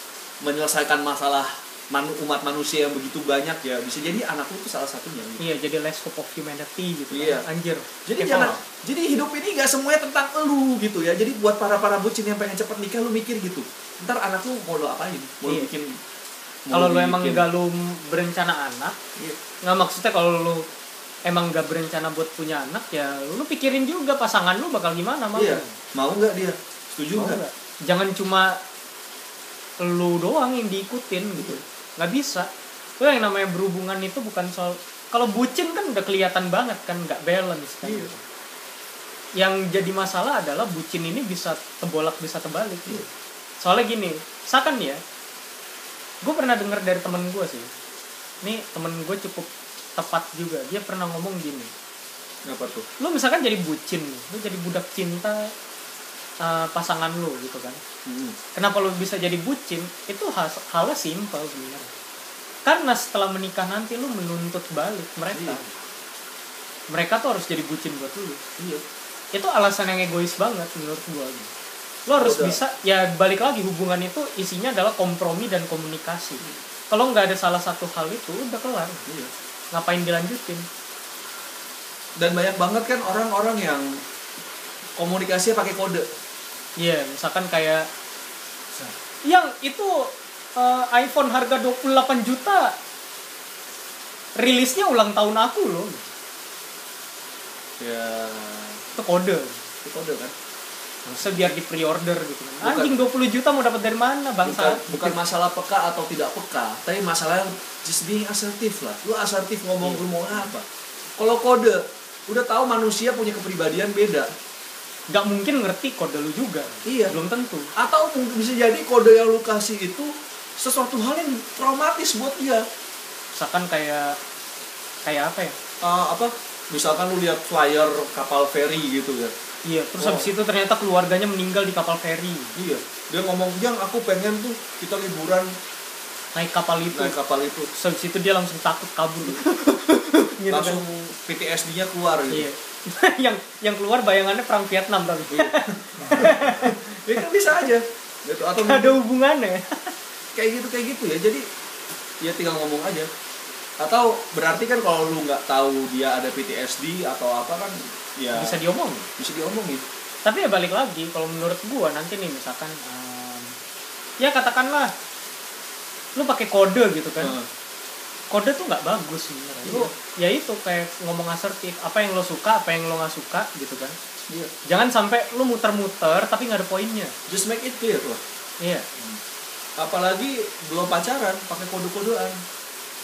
S2: menyelesaikan masalah manu- umat manusia yang begitu banyak ya bisa jadi anak lu tuh salah satunya gitu.
S1: iya jadi less hope of humanity gitu
S2: Iya.
S1: kan. anjir
S2: jadi
S1: Kayak
S2: jangan
S1: orang.
S2: jadi hidup ini nggak semuanya tentang elu gitu ya jadi buat para para bucin yang pengen cepet nikah lu mikir gitu ntar anak lu mau lu apain mau lu
S1: Iya.
S2: bikin mau
S1: kalau lu emang
S2: bikin-
S1: gak lu berencana anak
S2: Iya.
S1: nggak maksudnya kalau lu emang gak berencana buat punya anak ya lu pikirin juga pasangan lu bakal gimana mau
S2: Iya, mau nggak dia? Setuju
S1: Mau
S2: nggak?
S1: nggak? jangan cuma lu doang yang diikutin gitu nggak bisa lu yang namanya berhubungan itu bukan soal kalau bucin kan udah kelihatan banget kan nggak balance kan
S2: Iya.
S1: yang jadi masalah adalah bucin ini bisa tebolak bisa terbalik gitu. soalnya gini misalkan ya gue pernah dengar dari temen gue sih ini temen gue cukup tepat juga dia pernah ngomong gini
S2: Apa tuh?
S1: lu misalkan jadi bucin lu jadi budak cinta eh, pasangan lu gitu kan
S2: Hmm.
S1: kenapa lu bisa jadi bucin itu has- halnya simpel sebenarnya karena setelah menikah nanti lu menuntut balik mereka
S2: Iya.
S1: mereka tuh harus jadi bucin buat lu
S2: Iya.
S1: itu alasan yang egois banget menurut gua gitu. lo harus
S2: Udah.
S1: bisa ya balik lagi hubungan itu isinya adalah kompromi dan komunikasi
S2: Hmm.
S1: kalau nggak ada salah satu hal itu udah kelar
S2: Iya.
S1: ngapain dilanjutin
S2: Dan banyak banget kan orang-orang yang komunikasinya pakai kode.
S1: Iya, misalkan kayak yang itu eh, iPhone harga 28 juta rilisnya ulang tahun aku loh.
S2: Ya,
S1: Itu kode.
S2: itu kode kan?
S1: Maksudnya biar di pre-order gitu.
S2: Bukan.
S1: Anjing 20 juta mau dapat dari mana
S2: Bukan,
S1: bangsa?
S2: bukan masalah peka atau tidak peka, tapi masalah just being asertif lah. Lu asertif ngomong
S1: Iya.
S2: lu mau apa. Kalau kode, udah tahu manusia punya kepribadian beda.
S1: Gak mungkin ngerti kode lu juga.
S2: Iya.
S1: Belum tentu.
S2: Atau mungkin bisa jadi kode yang lu kasih itu sesuatu hal yang traumatis buat dia.
S1: Misalkan kayak kayak apa ya?
S2: Ah, apa misalkan lu lihat flyer kapal feri gitu kan
S1: Iya, terus
S2: Wow.
S1: habis itu ternyata keluarganya meninggal di kapal feri.
S2: iya dia ngomong yang aku pengen tuh kita liburan
S1: Naik kapal itu.
S2: naik kapal itu
S1: Terus habis itu dia langsung takut kabur. Gitu kan.
S2: langsung PTSD-nya keluar gitu
S1: Iya. yang yang keluar bayangannya perang Vietnam tapi
S2: ya kan bisa aja gitu atau
S1: Nggak ada hubungannya.
S2: kayak gitu kayak gitu ya jadi ya tinggal ngomong aja atau berarti kan kalau lu nggak tahu dia ada PTSD atau apa kan ya
S1: Bisa diomongin.
S2: bisa diomongin
S1: Tapi ya balik lagi kalau menurut gua nanti nih misalkan em, ya katakanlah lu pakai kode gitu kan.
S2: Heeh.
S1: Kode tuh nggak bagus sebenarnya. Lu ya itu kayak ngomong asertif, apa yang lo suka, apa yang lo nggak suka gitu kan.
S2: Iya.
S1: Jangan sampai lu muter-muter tapi nggak ada poinnya.
S2: just make it clear lah
S1: Iya.
S2: apalagi belum pacaran pakai kode-kodean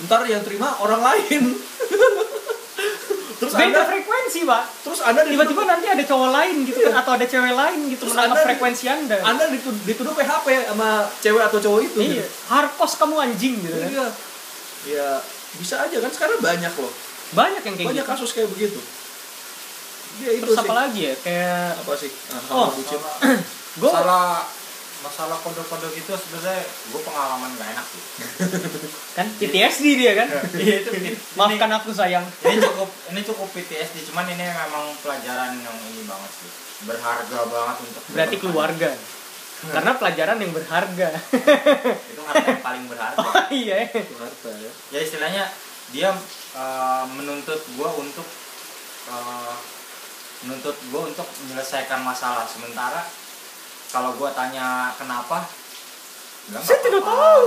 S2: ntar yang terima orang lain terus
S1: Beda
S2: anda
S1: frekuensi, Pak.
S2: terus anda dituduh,
S1: Tiba-tiba nanti ada cowok lain gitu kan atau ada cewek lain gitu
S2: Iya. Terus
S1: menangkap
S2: Anda-
S1: frekuensi Anda.
S2: anda dituduh, dituduh PHP sama cewek atau cowok itu
S1: Iya,
S2: gitu.
S1: harkos kamu anjing gitu kan.
S2: Iya. ya bisa aja kan sekarang banyak loh
S1: banyak yang kayak
S2: banyak
S1: gitu
S2: kasus kayak begitu ya itu
S1: terus
S2: sih
S1: apa lagi ya kayak
S2: apa sih Ah,
S1: Oh,
S2: hal bucin
S1: gue
S3: masalah masalah kode-kode gitu sebenarnya gue pengalaman gak enak sih
S1: kan PTSD dia kan
S3: Iya, itu ini-
S1: maafkan aku sayang
S3: ini cukup ini cukup PTSD cuman ini memang pelajaran yang ini banget sih berharga banget untuk
S1: berarti keluarga
S2: Iya.
S1: karena pelajaran yang berharga
S3: itu harta yang paling berharga
S1: oh iya ya.
S2: Itu harta ya
S3: ya istilahnya dia eh, menuntut gue untuk eh, menuntut gue untuk menyelesaikan masalah sementara kalau gue tanya kenapa bilang,
S1: Saya
S3: "Nggak
S1: tidak
S3: apa-apa."
S1: tahu.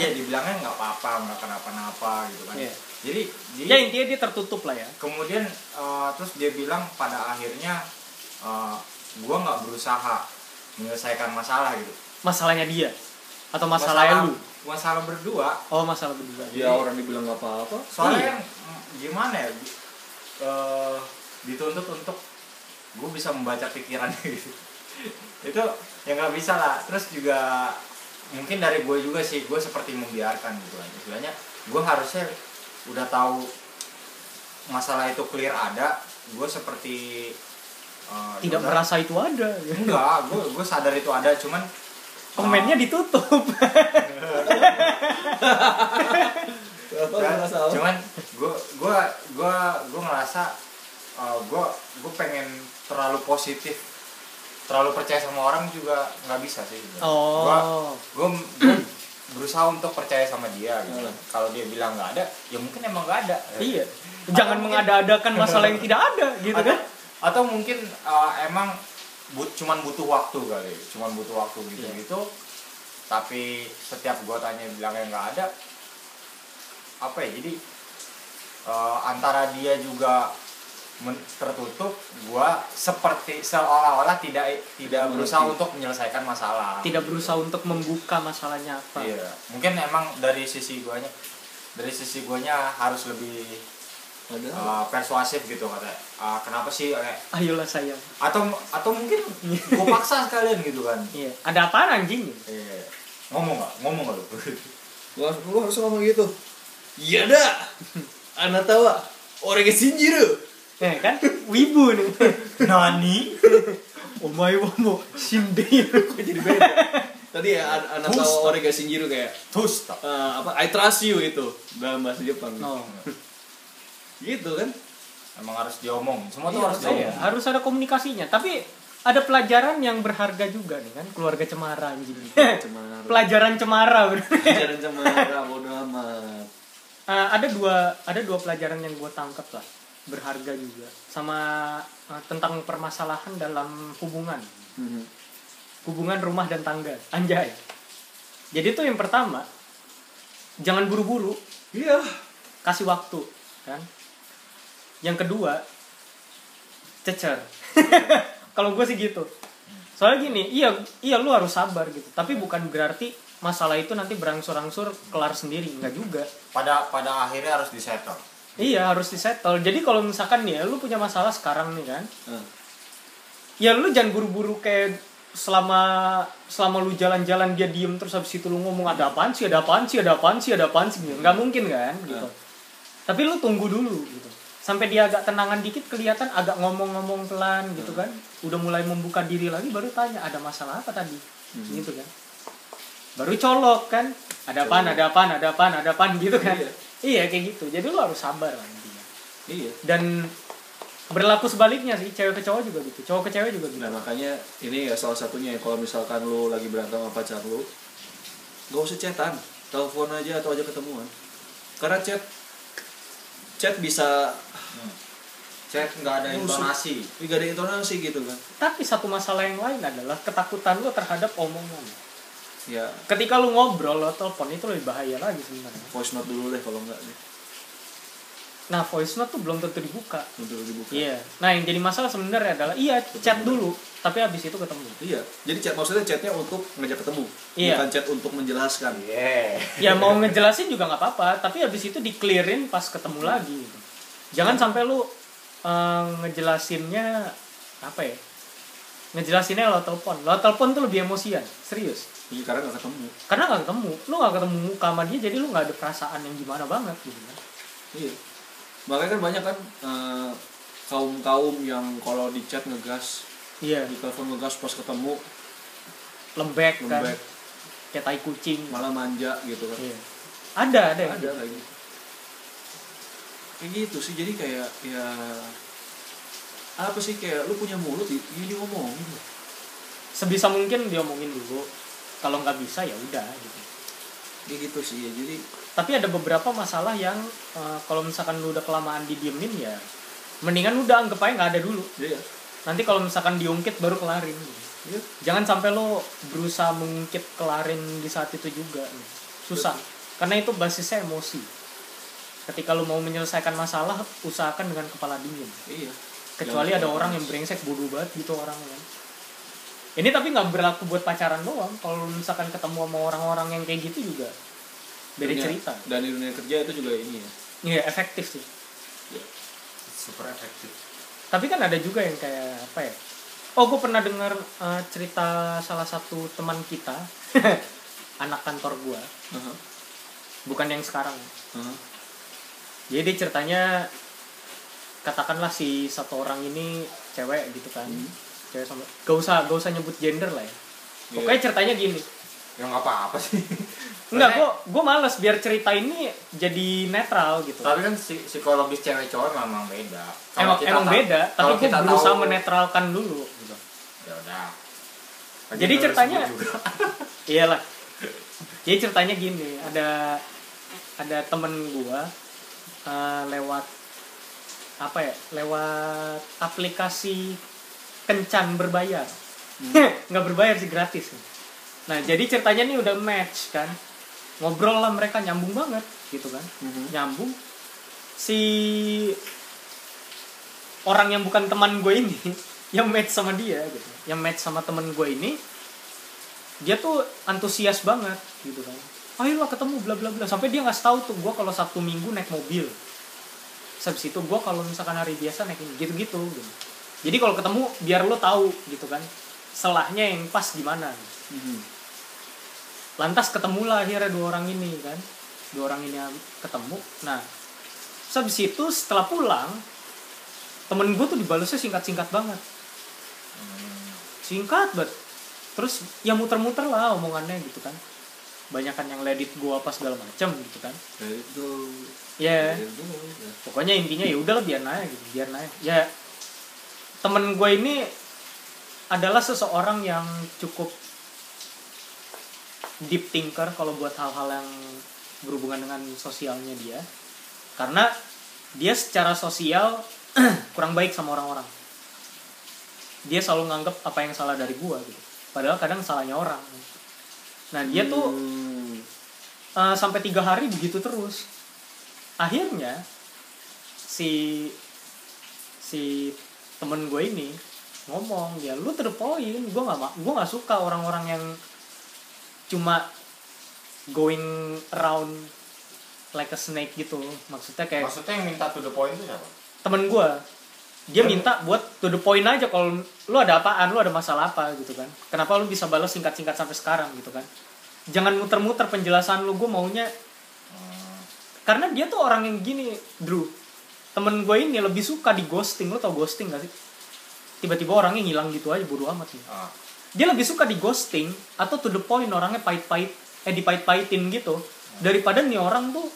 S3: iya dibilangnya nggak apa-apa nggak kenapa-apa gitu kan
S1: Iya.
S3: jadi jadi
S1: ya intinya dia tertutup lah ya
S3: kemudian eh, terus dia bilang pada akhirnya eh, gue nggak berusaha menyelesaikan masalah gitu
S1: masalahnya dia atau masalahnya lu
S3: masalah berdua
S1: oh masalah berdua
S2: ya orang dibilang nggak apa-apa
S3: soalnya
S1: Iya.
S3: yang, mm, gimana ya di- eh, dituntut untuk gue bisa membaca pikiran gitu itu ya nggak bisa lah terus juga mungkin dari gue juga sih gue seperti membiarkan gitu kan istilahnya gue harusnya udah tahu masalah itu clear ada gue seperti eh,
S1: tidak
S3: udah-
S1: merasa itu ada
S2: Iya.
S3: enggak gue gue sadar itu ada cuman
S1: komennya ditutup Iya.
S2: Apa
S3: Cuman-
S2: nggak salah?
S3: cuman gue gue gue gue ngerasa gue gue pengen terlalu positif terlalu percaya sama orang juga nggak bisa sih
S1: oh
S3: gue berusaha untuk percaya sama dia gitu
S2: Hmm.
S3: kalau dia bilang nggak ada ya mungkin emang nggak ada
S1: iya jangan
S3: Atau mungkin-
S1: mengada-adakan masalah yang tidak ada gitu
S3: atau,
S1: kan
S3: atau mungkin uh, emang but, cuman butuh waktu kali cuman butuh waktu gitu gitu
S1: Iya.
S3: tapi setiap gua tanya bilangnya nggak ada apa ya jadi uh, antara dia juga men- tertutup gua seperti seolah-olah tidak tidak
S2: Mengerti.
S3: berusaha untuk menyelesaikan masalah
S1: tidak berusaha untuk membuka masalahnya apa
S3: Iya, mungkin emang dari sisi guanya dari sisi guanya harus lebih
S1: Ah.
S2: Padahal
S3: uh, persuasif gitu katanya Uh, kenapa sih eh,
S1: ayolah sayang
S3: atau atau mungkin gue paksa sekalian gitu kan
S1: iya ada apaan anjing
S3: eh, ngomong gak ngomong gak lu
S2: lu harus, lu harus ngomong gitu iya dah anak tawa orang yang sinjiru
S1: ya kan wibu nih
S3: nani
S1: omae wa mo shinderu
S2: kok jadi beda tadi ya an- anak
S3: Terus.
S2: tawa orang yang sinjiru kayak
S3: tusta
S2: eh, apa I trust you itu dalam bahasa Jepang
S1: oh
S2: gitu kan
S3: emang harus diomong semua tuh
S2: Iya, iya.
S3: harus diomong
S1: ya. harus ada komunikasinya tapi ada pelajaran yang berharga juga nih kan keluarga cemara anjing
S2: cemara
S1: pelajaran cemara bro.
S2: pelajaran cemara bodo amat
S1: Eh, ada dua ada dua pelajaran yang gue tangkap lah berharga juga sama eh, tentang permasalahan dalam hubungan
S2: Mhm.
S1: hubungan rumah dan tangga anjay jadi tuh yang pertama jangan buru-buru
S2: iya
S1: kasih waktu kan yang kedua cecer kalau gue sih gitu soalnya gini iya iya lu harus sabar gitu tapi bukan berarti masalah itu nanti berangsur-angsur kelar sendiri nggak juga
S3: pada pada akhirnya harus disetel
S1: iya harus disettle jadi kalau misalkan nih ya, lu punya masalah sekarang nih kan
S2: Eh,
S1: ya lu jangan buru-buru kayak selama selama lu jalan-jalan dia diem terus habis itu lu ngomong ada apaan sih ada apaan sih ada apaan sih ada apaan sih gitu. nggak mungkin kan gitu
S2: Nah.
S1: tapi lu tunggu dulu gitu sampai dia agak tenangan dikit kelihatan agak ngomong-ngomong pelan gitu kan udah mulai membuka diri lagi baru tanya ada masalah apa tadi gitu kan baru colok kan ada apaan ada apaan ada apaan ada apaan gitu kan
S2: Iya.
S1: iya kayak gitu jadi lu harus sabar lah intinya
S2: iya
S1: dan berlaku sebaliknya sih cewek ke cowok juga gitu cowok ke cewek juga gitu
S2: Nah makanya ini ya salah satunya ya, kalau misalkan lu lagi berantem sama pacar lu Gak usah chatan, telepon aja atau aja ketemuan Karena chat chat bisa ah,
S3: chat nggak ada
S2: Musuh.
S3: intonasi
S2: gak ada intonasi gitu kan
S1: tapi satu masalah yang lain adalah ketakutan lo terhadap omongan
S2: Ya
S1: ketika lu ngobrol lo telepon itu lebih bahaya lagi sebenarnya
S2: voice note dulu deh kalau enggak deh
S1: nah voice note tuh belum tentu dibuka
S2: Untuk dibuka
S1: iya nah yang jadi masalah sebenarnya adalah iya chat dulu tapi habis itu ketemu
S2: Iya, jadi chat maksudnya chatnya untuk ngajak ketemu,
S1: Iya.
S2: bukan chat untuk menjelaskan.
S3: yeah.
S1: ya mau ngejelasin juga nggak apa-apa tapi habis itu di-clearin pas ketemu lagi gitu. jangan sampai lu eh, ngejelasinnya apa ya ngejelasinnya lo telepon lo telepon tuh lebih emosian serius
S2: Iya, karena gak ketemu.
S1: karena nggak ketemu lu nggak ketemu muka sama dia jadi lu nggak ada perasaan yang gimana banget gitu kan
S2: Iya. Makanya kan banyak kan eh, kaum-kaum yang kalau di chat ngegas,
S1: iya
S2: di telepon ngegas pas ketemu
S1: lembek, kan
S2: lembek,
S1: kayak tai kucing
S2: malah manja gitu kan.
S1: iya. ada ada yang
S2: Ada lagi. Kayak gitu sih, jadi kayak ya apa sih kayak lu punya mulut ya ya diomongin lah.
S1: sebisa mungkin diomongin dulu kalau nggak bisa ya udah gitu
S2: Kayak gitu sih ya. Jadi
S1: tapi ada beberapa masalah yang eh, kalau misalkan lu udah kelamaan didiemin ya mendingan udah anggap aja nggak ada dulu
S2: iya.
S1: nanti kalau misalkan diungkit baru kelarin gitu.
S2: Iya.
S1: jangan sampai lo berusaha mengungkit kelarin di saat itu juga gitu. susah karena itu basisnya emosi ketika lo mau menyelesaikan masalah usahakan dengan kepala dingin
S2: Iya.
S1: kecuali
S2: Jangan
S1: ada
S2: kepala
S1: orang yang
S2: dingin.
S1: brengsek bodoh banget gitu orang kan ini tapi nggak berlaku buat pacaran doang kalau lo misalkan ketemu sama orang-orang yang kayak gitu juga beda
S2: Dunia-
S1: cerita
S2: Dan di dunia kerja itu juga ini ya.
S1: Iya efektif sih
S3: super efektif
S1: tapi kan ada juga yang kayak apa ya oh gue pernah dengar eh, cerita salah satu teman kita anak kantor gue
S2: Aha,
S1: bukan yang sekarang
S2: aha.
S1: jadi dia ceritanya katakanlah si satu orang ini cewek gitu kan
S2: Hmm.
S1: cewek sama gak usah gak usah nyebut gender lah ya
S2: iya.
S1: pokoknya ceritanya gini
S3: ya nggak apa-apa sih
S1: enggak
S3: Soalnya-
S1: gue gue males biar cerita ini jadi netral gitu
S3: tapi kan si- psikologis cewek cowok memang beda Kalau
S1: emang
S3: kita
S1: emang
S3: ta-
S1: beda tapi
S3: kalau
S1: gue
S3: kita
S1: berusaha
S3: tahu-
S1: menetralkan dulu gitu.
S3: ya udah Lagi
S1: Jadi
S3: lu
S1: ceritanya-
S3: sebut juga.
S1: iyalah jadi ceritanya gini ada ada temen gua eh, lewat apa ya lewat aplikasi kencan berbayar
S3: Hmm.
S1: nggak berbayar sih gratis nah jadi ceritanya nih udah match kan ngobrol lah mereka nyambung banget gitu kan
S2: Mhm.
S1: nyambung si orang yang bukan teman gue ini yang match sama dia gitu yang match sama temen gue ini dia tuh antusias banget gitu kan ayo lah ketemu bla bla bla sampai dia nggak tahu tuh gue kalau sabtu minggu naik mobil Terus habis itu gue kalau misalkan hari biasa naik ini gitu gitu gitu. jadi kalau ketemu biar lo tahu gitu kan selahnya yang pas gitu. gimana
S2: Mhm.
S1: lantas ketemulah akhirnya dua orang ini kan dua orang ini ketemu nah terus habis itu setelah pulang temen gue tuh dibalasnya singkat singkat banget
S3: Hmm,
S1: singkat banget terus ya muter-muter lah omongannya gitu kan banyakan yang ledit gua apa segala macam gitu kan
S2: Kayak gitu.
S1: ya
S2: Kayak gitu.
S1: pokoknya intinya ya udahlah biar naik gitu biar naik ya temen gue ini adalah seseorang yang cukup deep thinker kalau buat hal-hal yang berhubungan dengan sosialnya dia karena dia secara sosial kurang baik sama orang-orang dia selalu nganggep apa yang salah dari gua gitu padahal kadang salahnya orang nah dia tuh
S2: Hmm.
S1: Eh, sampai tiga hari begitu terus akhirnya si si temen gue ini ngomong ya lu to the point gue nggak ma- gua nggak suka orang-orang yang cuma going around like a snake gitu maksudnya kayak
S3: maksudnya yang minta to the point itu siapa
S1: temen gue dia minta buat to the point aja kalau lu ada apaan lu ada masalah apa gitu kan kenapa lu bisa balas singkat-singkat sampai sekarang gitu kan jangan muter-muter penjelasan lu gue maunya
S3: Hmm,
S1: karena dia tuh orang yang gini Drew temen gue ini lebih suka di ghosting lo tau ghosting gak sih tiba-tiba orangnya ngilang gitu aja bodo amat ya.
S3: ah.
S1: dia lebih suka di ghosting atau to the point orangnya pahit-pahit eh dipahit-pahitin gitu daripada nih orang tuh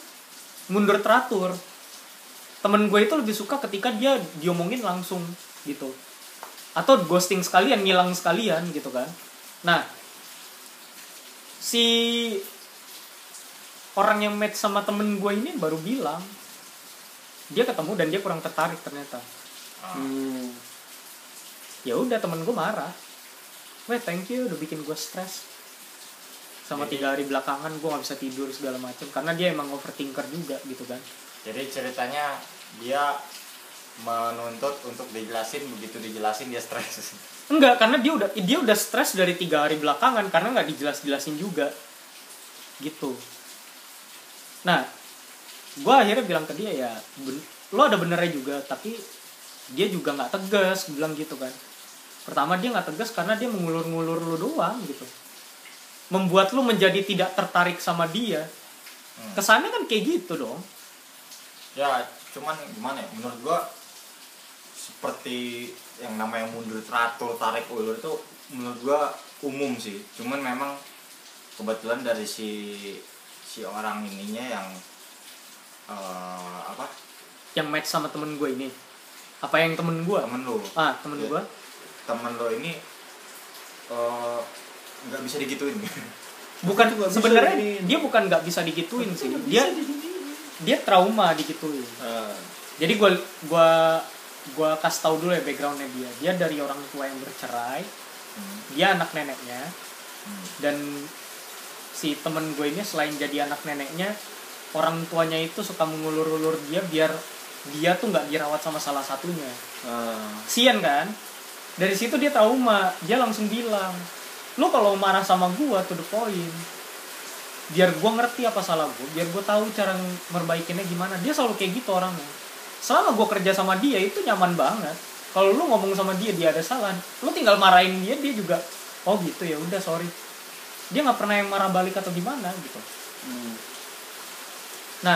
S1: mundur teratur temen gue itu lebih suka ketika dia diomongin langsung gitu atau ghosting sekalian ngilang sekalian gitu kan nah si orang yang match sama temen gue ini baru bilang dia ketemu dan dia kurang tertarik ternyata
S2: Hmm.
S1: ya udah temen gue marah weh thank you udah bikin gue stres sama
S3: Jadi-
S1: tiga hari belakangan gue nggak bisa tidur segala macem karena dia emang overthinker juga gitu kan
S3: jadi ceritanya dia menuntut untuk dijelasin begitu dijelasin dia stres
S1: enggak karena dia udah dia udah stres dari tiga hari belakangan karena nggak dijelas jelasin juga gitu nah gue akhirnya bilang ke dia ya "Ben- lo ada benernya juga tapi dia juga nggak tegas gua bilang gitu kan pertama dia nggak tegas karena dia mengulur-ngulur lu doang gitu membuat lu menjadi tidak tertarik sama dia kesannya kan kayak gitu dong
S3: ya cuman gimana ya menurut gua seperti yang namanya mundur teratur tarik ulur itu menurut gua umum sih cuman memang kebetulan dari si si orang ininya yang eh, apa
S1: yang match sama temen gue ini apa yang temen gue
S3: temen lo
S1: ah temen
S3: Iya.
S1: gue
S3: temen lo ini eh, nggak bisa digituin
S1: bukan
S2: Itu nggak bisa
S1: sebenarnya
S2: digituin.
S1: dia bukan nggak bisa digituin sih dia dia trauma digituin
S2: Ah,
S3: Eh,
S1: jadi gue gua gua kasih tahu dulu ya backgroundnya dia dia dari orang tua yang bercerai
S3: hmm,
S1: dia anak neneknya
S3: hmm.
S1: dan si temen gue ini selain jadi anak neneknya orang tuanya itu suka mengulur-ulur dia biar dia tuh nggak dirawat sama salah satunya
S2: ah.
S3: Eh,
S1: kesian kan dari situ dia trauma dia langsung bilang lu kalau marah sama gua to the point biar gua ngerti apa salah gua biar gua tahu cara merbaikinnya gimana dia selalu kayak gitu orangnya selama gua kerja sama dia itu nyaman banget kalau lu ngomong sama dia dia ada salah lu tinggal marahin dia dia juga oh gitu ya udah sorry dia nggak pernah yang marah balik atau gimana gitu
S2: Hmm.
S1: nah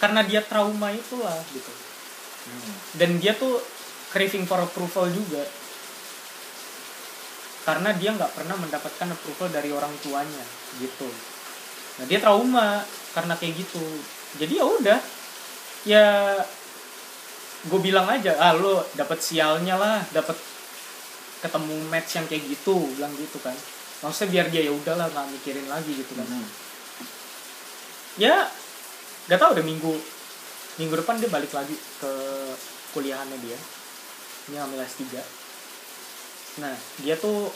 S1: karena dia trauma itulah gitu
S3: hmm.
S1: dan dia tuh craving for approval juga karena dia nggak pernah mendapatkan approval dari orang tuanya gitu nah dia trauma karena kayak gitu jadi ya udah ya gue bilang aja ah lo dapat sialnya lah dapat ketemu match yang kayak gitu bilang gitu kan maksudnya biar dia ya udahlah nggak mikirin lagi gitu kan
S2: Hmm,
S1: ya nggak tahu deh minggu minggu depan dia balik lagi ke kuliahannya dia ini ambil S3 nah dia tuh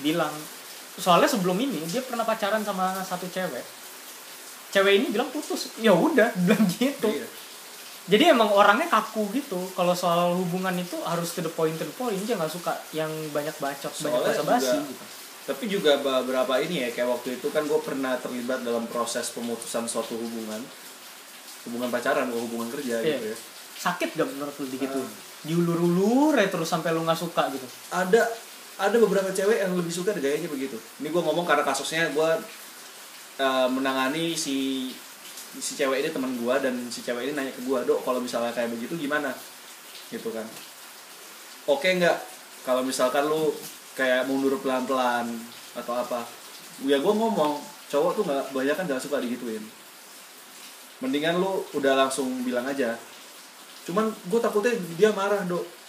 S1: bilang soalnya sebelum ini dia pernah pacaran sama satu cewek cewek ini bilang putus ya udah bilang gitu
S2: Iya.
S1: jadi emang orangnya kaku gitu kalau soal hubungan itu harus to the point to the point dia nggak suka yang banyak bacot banyak
S2: Soalnya
S1: basa-basi
S2: juga-
S1: gitu
S2: Tapi juga beberapa ini ya kayak waktu itu kan gue pernah terlibat dalam proses pemutusan suatu hubungan hubungan pacaran bukan hubungan kerja
S1: Iya.
S2: gitu ya.
S1: sakit gak menurut lu gitu
S2: Ah.
S1: diulur-ulur ya terus sampai lu nggak suka gitu
S2: Ada ada beberapa cewek yang lebih suka gayanya begitu. Ini gue ngomong karena kasusnya gue eh, menangani si si cewek ini teman gue dan si cewek ini nanya ke gue, dok kalau misalnya kayak begitu gimana? Gitu kan. Oke nggak kalau misalkan lu kayak mundur pelan-pelan atau apa? Ya gue ngomong cowok tuh nggak banyak kan nggak suka digituin. Mendingan lu udah langsung bilang aja. Cuman gue takutnya dia marah dok.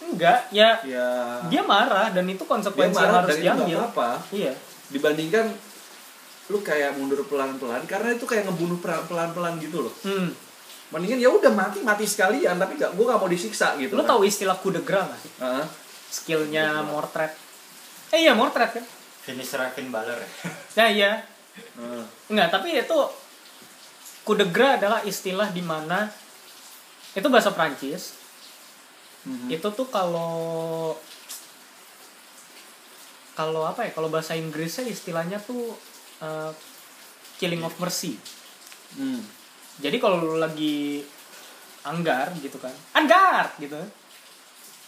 S1: enggak ya
S2: Ya.
S1: dia marah dan itu
S2: dia
S1: konsekuensi yang
S2: marah
S1: harus
S2: dan itu
S1: diambil
S2: nggak apa-apa
S1: iya
S2: dibandingkan lu kayak mundur pelan-pelan karena itu kayak ngebunuh pelan- pelan-pelan gitu loh
S1: hmm.
S2: mendingan ya udah mati mati sekalian tapi gak gue gak mau disiksa gitu
S1: lu tahu ya? istilah kudegra nggak sih?
S2: Heeh. Iya.
S1: skillnya mortret eh iya mortret kan
S3: finish Revin Baller ya
S1: nah iya
S2: Heeh.
S1: enggak tapi itu kudegra adalah istilah di mana itu bahasa Prancis
S2: Mhm.
S1: itu tuh kalau kalau apa ya kalau bahasa Inggrisnya istilahnya tuh eh, killing of mercy
S2: Hmm.
S1: jadi kalau lu lagi anggar gitu kan anggar gitu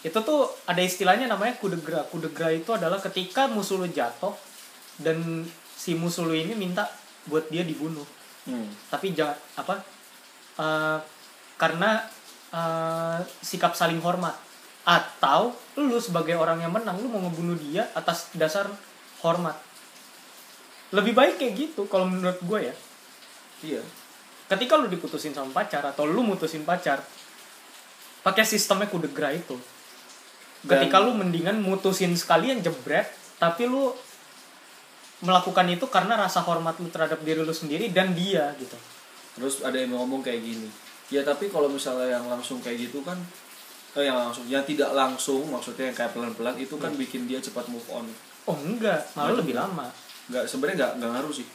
S1: itu tuh ada istilahnya namanya kudegra kudegra itu adalah ketika musuh lu jatuh dan si musuh lu ini minta buat dia dibunuh
S2: Hmm.
S1: tapi jangan apa eh, karena eh, sikap saling hormat atau lu sebagai orang yang menang lu mau ngebunuh dia atas dasar hormat lebih baik kayak gitu kalau menurut gue ya
S2: iya
S1: ketika lu diputusin sama pacar atau lu mutusin pacar pakai sistemnya kudegra itu ketika
S2: Dan-
S1: lu mendingan mutusin sekalian jebret tapi lu melakukan itu karena rasa hormat lu terhadap diri lu sendiri dan dia gitu
S2: terus ada yang ngomong kayak gini ya tapi kalau misalnya yang langsung kayak gitu kan eh, yang langsung yang tidak langsung maksudnya yang kayak pelan-pelan itu
S1: Hmm.
S2: kan bikin dia cepat move on
S1: oh enggak malah lebih lama
S2: nggak sebenarnya nggak nggak ngaruh sih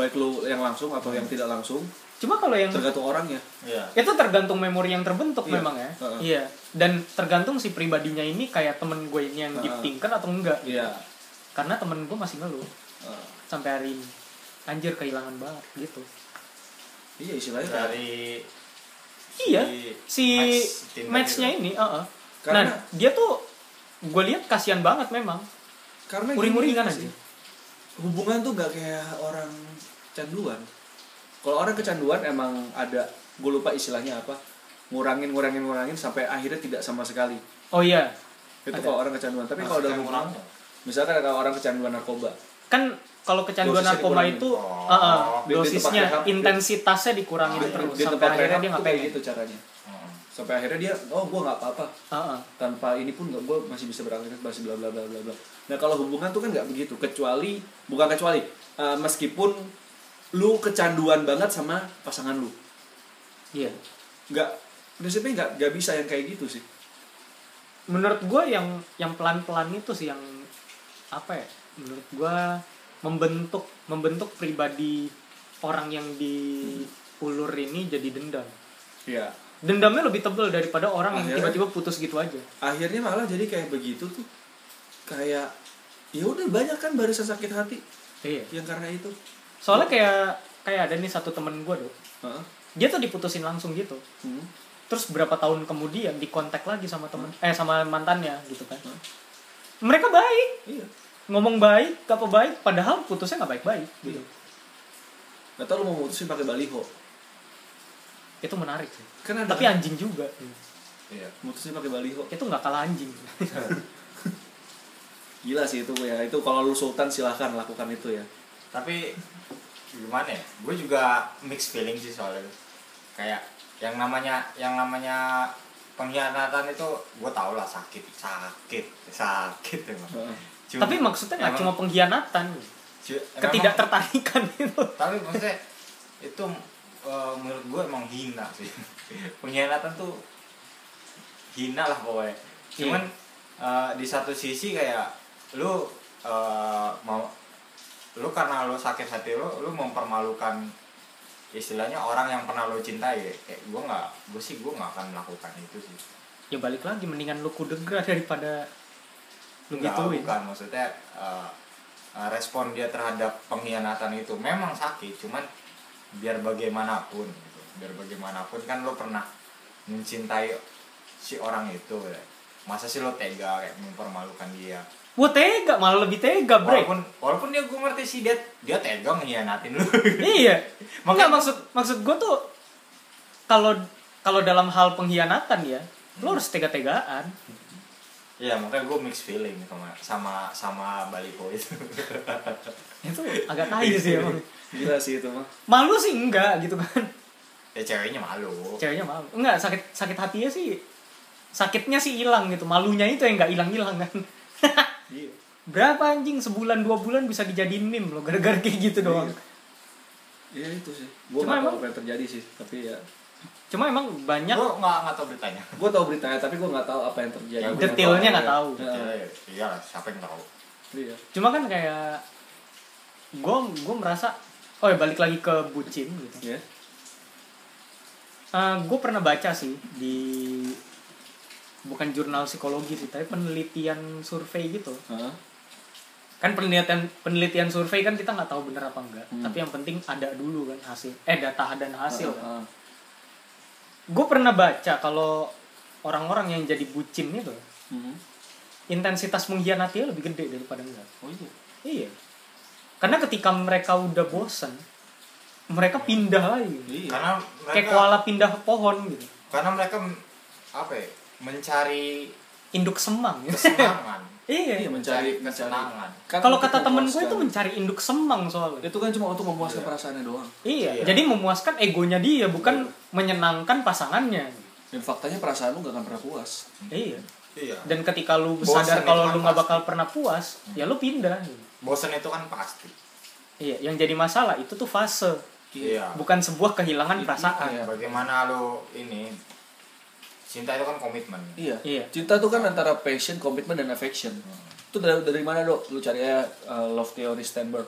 S2: baik lu yang langsung atau
S1: Hmm.
S2: yang tidak langsung
S1: cuma kalau yang
S2: tergantung orangnya
S3: Iya.
S1: itu tergantung memori yang terbentuk
S2: Iya.
S1: memang ya
S2: Heeh.
S1: iya dan tergantung si pribadinya ini kayak temen gue ini yang
S2: Heeh.
S1: deep thinker atau enggak
S2: iya
S1: karena temen gue masih ngeluh
S2: Heeh.
S1: sampai hari ini anjir kehilangan banget gitu
S2: Iya istilahnya kayak-
S3: dari
S1: Iya,
S3: si
S1: si
S3: Tinder
S1: matchnya
S3: itu.
S1: ini, uh-uh. nah
S2: Karena-
S1: dia tuh gue lihat kasihan banget memang
S2: karena gini
S1: uring-uringan
S2: sih,
S1: aja
S2: hubungan tuh gak kayak orang kecanduan kalau orang kecanduan emang ada gue lupa istilahnya apa ngurangin ngurangin ngurangin sampai akhirnya tidak sama sekali
S1: oh iya
S2: itu
S1: Ada.
S2: kalau orang kecanduan tapi kalau dalam
S3: orang
S2: misalkan kalau orang kecanduan narkoba
S1: kan kalau kecanduan
S2: Dosisnya
S1: narkoba
S2: dikurangin.
S1: itu
S3: Oh.
S1: eh, eh,
S2: Dia- dia
S1: dosisnya
S2: tempat rehab, dia-
S1: intensitasnya dikurangin
S3: Dia-
S1: terus
S2: di
S1: sampai
S2: tempat
S1: akhirnya
S2: rehab
S1: dia
S2: tuh
S1: nggak
S2: kayak
S1: pengen
S2: gitu caranya
S3: Oh,
S2: sampai akhirnya dia oh gue nggak apa-apa
S1: Eh, eh.
S2: tanpa ini pun gue masih bisa beraktivitas masih bla bla bla bla bla nah kalau hubungan tuh kan nggak begitu kecuali bukan kecuali eh, meskipun lu kecanduan banget sama pasangan lu
S1: iya
S2: nggak prinsipnya nggak nggak bisa yang kayak gitu sih
S1: menurut gue yang yang pelan-pelan itu sih yang apa ya menurut gue membentuk membentuk pribadi orang yang diulur ini jadi dendam
S2: ya
S1: dendamnya lebih tebel daripada
S3: Ah,
S1: orang
S3: iya.
S1: yang
S2: Akhirnya.
S1: tiba-tiba putus gitu aja
S2: akhirnya malah jadi kayak begitu tuh kayak ya udah banyak kan barisan sakit hati
S1: iya
S2: yang karena itu
S1: soalnya kayak kayak ada nih satu temen gue dok
S2: Heeh.
S1: dia tuh diputusin langsung gitu
S2: Hmm.
S1: terus berapa tahun kemudian dikontak lagi sama temen eh sama mantannya gitu kan
S2: Hmm.
S1: mereka baik
S2: iya
S1: ngomong baik apa baik padahal putusnya nggak baik-baik gitu
S3: Iya.
S2: atau lu mau mutusin pakai baliho
S1: itu menarik sih
S2: kan ada
S1: tapi
S2: kan?
S1: anjing juga
S3: iya
S2: mutusin pakai baliho
S1: itu nggak kalah anjing
S2: gila sih itu ya itu kalau lu sultan silahkan lakukan itu ya
S3: tapi gimana ya gue juga mixed feeling sih soalnya kayak yang namanya yang namanya pengkhianatan itu gue tau lah sakit sakit sakit emang
S2: Heeh.
S3: Cuma-
S1: tapi maksudnya nggak
S3: emang-
S1: cuma pengkhianatan
S3: cu- emang-
S1: ketidaktertarikan itu
S3: tapi maksudnya itu eh, menurut gue emang hina sih pengkhianatan tuh hina lah pokoknya cuman eh, di satu sisi kayak lu eh, mau lu karena lu sakit hati lu lu mempermalukan istilahnya orang yang pernah lu cintai kayak gue nggak gue sih gue nggak akan melakukan itu sih
S1: ya balik lagi mendingan lu kudegra daripada lu
S3: Enggak,
S1: gituin
S3: bukan kan, maksudnya uh, uh, respon dia terhadap pengkhianatan itu memang sakit, cuman biar bagaimanapun, gitu. biar bagaimanapun kan lo pernah mencintai si orang itu, ya. masa sih lo tega kayak mempermalukan dia.
S1: wah tega malah lebih tega bre
S3: Walaupun walaupun dia gue ngerti sih dia dia tega mengkhianatin lo.
S1: iya makanya
S3: Makanya-
S1: maksud maksud gue tuh kalau kalau dalam hal pengkhianatan ya lo harus tega-tegaan
S3: Iya makanya gue mixed feeling sama sama sama Baliho itu.
S1: itu agak tai sih emang
S2: gila sih itu mah
S1: malu sih enggak gitu kan
S3: ya ceweknya malu.
S1: ceweknya malu enggak sakit sakit hatinya sih sakitnya sih hilang gitu malunya itu yang nggak hilang hilang kan
S2: iya
S1: berapa anjing sebulan dua bulan bisa dijadiin meme lo gara-gara kayak gitu doang
S2: ya itu sih gue
S1: Cuma
S2: nggak tahu
S1: emang-
S2: apa yang terjadi sih tapi ya
S1: cuma emang banyak
S3: Lo nggak nggak tau beritanya.
S2: gue tahu beritanya tapi gue nggak tahu apa yang terjadi
S3: Ya,
S1: detailnya nggak tahu
S3: Iya, iya lah, siapa yang tahu?
S2: iya
S1: cuma kan kayak gue gue merasa oh ya balik lagi ke bucin gitu
S2: ya
S1: gue Eh, pernah baca sih di bukan jurnal psikologi sih tapi penelitian survei gitu
S2: Heeh.
S1: kan penelitian penelitian survei kan kita nggak tahu bener apa enggak
S2: Hmm.
S1: tapi yang penting ada dulu kan hasil eh data dan hasil kan.
S2: Heeh.
S1: gue pernah baca kalau orang-orang yang jadi bucin itu Mm-hmm.
S2: Mhm.
S1: intensitas mengkhianatinya lebih gede daripada enggak
S2: oh iya
S1: iya karena ketika mereka udah bosen mereka pindah lagi
S2: iya
S3: Karena mereka
S1: kayak koala pindah pohon gitu
S3: karena mereka m- apa ya? Mencari
S1: induk semang gitu.
S3: kesenangan.
S1: iya
S2: Iya, mencari
S3: mencari kesenangan.
S2: Kan
S1: kalau
S2: untuk
S1: kata temen gue itu
S2: memuaskan.
S1: mencari induk semang soalnya
S2: itu kan cuma untuk memuaskan
S3: Iya.
S2: perasaannya doang
S1: Iya,
S3: Iya.
S1: jadi memuaskan egonya dia, bukan
S2: Iya.
S1: menyenangkan pasangannya.
S2: dan faktanya perasaan lu gak akan pernah puas
S1: Iya.
S3: Iya.
S1: Dan ketika lu
S3: Bosan
S1: sadar
S3: itu
S1: kalau
S3: kan
S1: lu nggak
S3: pasti.
S1: bakal pernah puas, ya lu pindah.
S3: Bosan itu kan pasti.
S1: Iya, yang jadi masalah itu tuh fase,
S3: Iya.
S1: bukan sebuah kehilangan
S2: Iya.
S1: perasaan.
S2: Iya.
S3: Bagaimana lo ini cinta itu kan komitmen.
S2: iya
S1: Iya.
S2: cinta tuh kan antara passion komitmen dan affection itu dari, dari mana dok lu cari ya uh, love theory Stanberg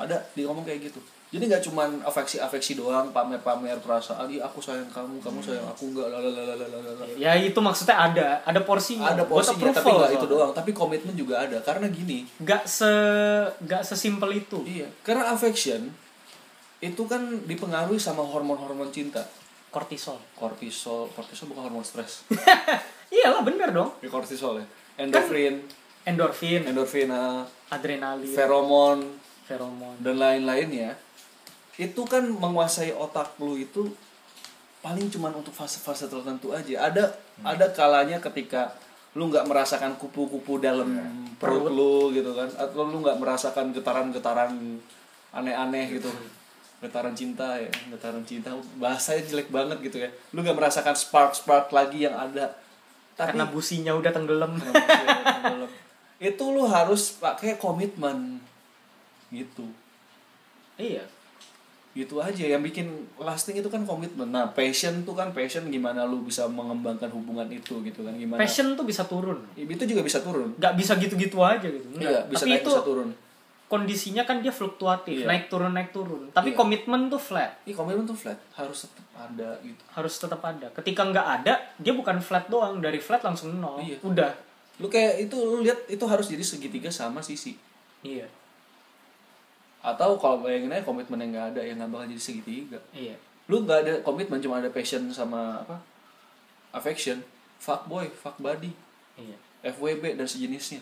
S2: ada dia ngomong kayak gitu jadi nggak cuman afeksi afeksi doang pamer pamer perasaan iya aku sayang kamu kamu sayang aku enggak lalalalalala
S1: Ya itu maksudnya ada, ada porsinya.
S2: ada
S1: Buat
S2: porsinya tapi
S1: approval
S2: nggak itu
S1: soalnya.
S2: doang tapi komitmen juga ada karena gini
S1: Nggak se nggak sesimpel itu.
S2: iya karena affection itu kan dipengaruhi sama hormon-hormon cinta
S1: Kortisol.
S2: kortisol kortisol bukan hormon stres
S1: Iyalah bener dong.
S2: ya kortisol ya endorfin
S1: endorfin
S2: endorfin ah,
S1: adrenalin
S2: feromon
S1: feromon
S2: dan lain-lainnya itu kan menguasai otak lu itu paling cuman untuk fase-fase tertentu aja ada ada kalanya ketika lu nggak merasakan kupu-kupu dalam perut lu gitu kan atau lu nggak merasakan getaran-getaran aneh-aneh gitu getaran cinta ya getaran cinta bahasanya jelek banget gitu ya lu nggak merasakan spark spark lagi yang ada tapi
S1: karena businya udah tenggelam
S2: itu lu harus pakai komitmen gitu
S1: iya
S2: gitu aja yang bikin lasting itu kan komitmen nah passion tuh kan passion gimana lu bisa mengembangkan hubungan itu gitu kan gimana Iya,
S1: passion tuh bisa turun
S2: itu juga bisa turun
S1: nggak bisa gitu-gitu aja gitu
S2: iya
S1: Nggak.
S2: bisa
S1: tapi
S2: naik
S1: itu
S2: bisa turun
S1: kondisinya kan dia fluktuatif
S2: Iya.
S1: naik turun naik turun tapi
S2: Iya.
S1: komitmen tuh flat
S2: Ih, komitmen tuh flat harus tetap ada gitu
S1: harus tetap ada ketika nggak ada dia bukan flat doang dari flat langsung nol
S2: Iya.
S1: udah
S2: lu kayak itu lu lihat itu harus jadi segitiga sama sisi
S1: iya
S2: atau kalau bayangin aja komitmen yang nggak ada ya nggak bakal jadi segitiga
S1: iya
S2: lu nggak ada komitmen cuma ada passion sama apa affection fuck boy fuck buddy
S1: iya
S2: FWB dan sejenisnya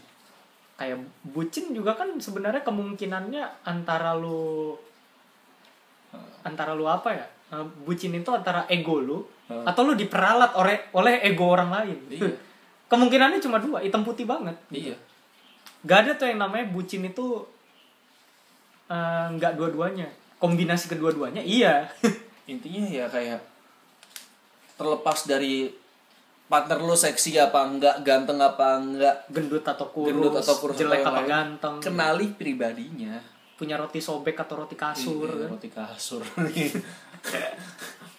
S1: kayak bucin juga kan sebenarnya kemungkinannya antara lu antara lu apa ya Eh, bucin itu antara ego lu
S2: Hmm.
S1: atau lu diperalat oleh oleh ego orang lain
S2: Iya.
S1: kemungkinannya cuma dua hitam putih banget
S2: iya
S1: gak ada tuh yang namanya bucin itu eh, nggak dua-duanya kombinasi kedua-duanya iya
S2: intinya ya kayak terlepas dari partner lo seksi apa enggak ganteng apa enggak
S1: gendut atau kurus,
S2: gendut atau kurus
S1: jelek
S2: yang
S1: atau
S2: lain,
S1: ganteng
S2: kenali pribadinya
S1: punya roti sobek atau roti kasur
S2: Iya,
S1: kan.
S2: roti kasur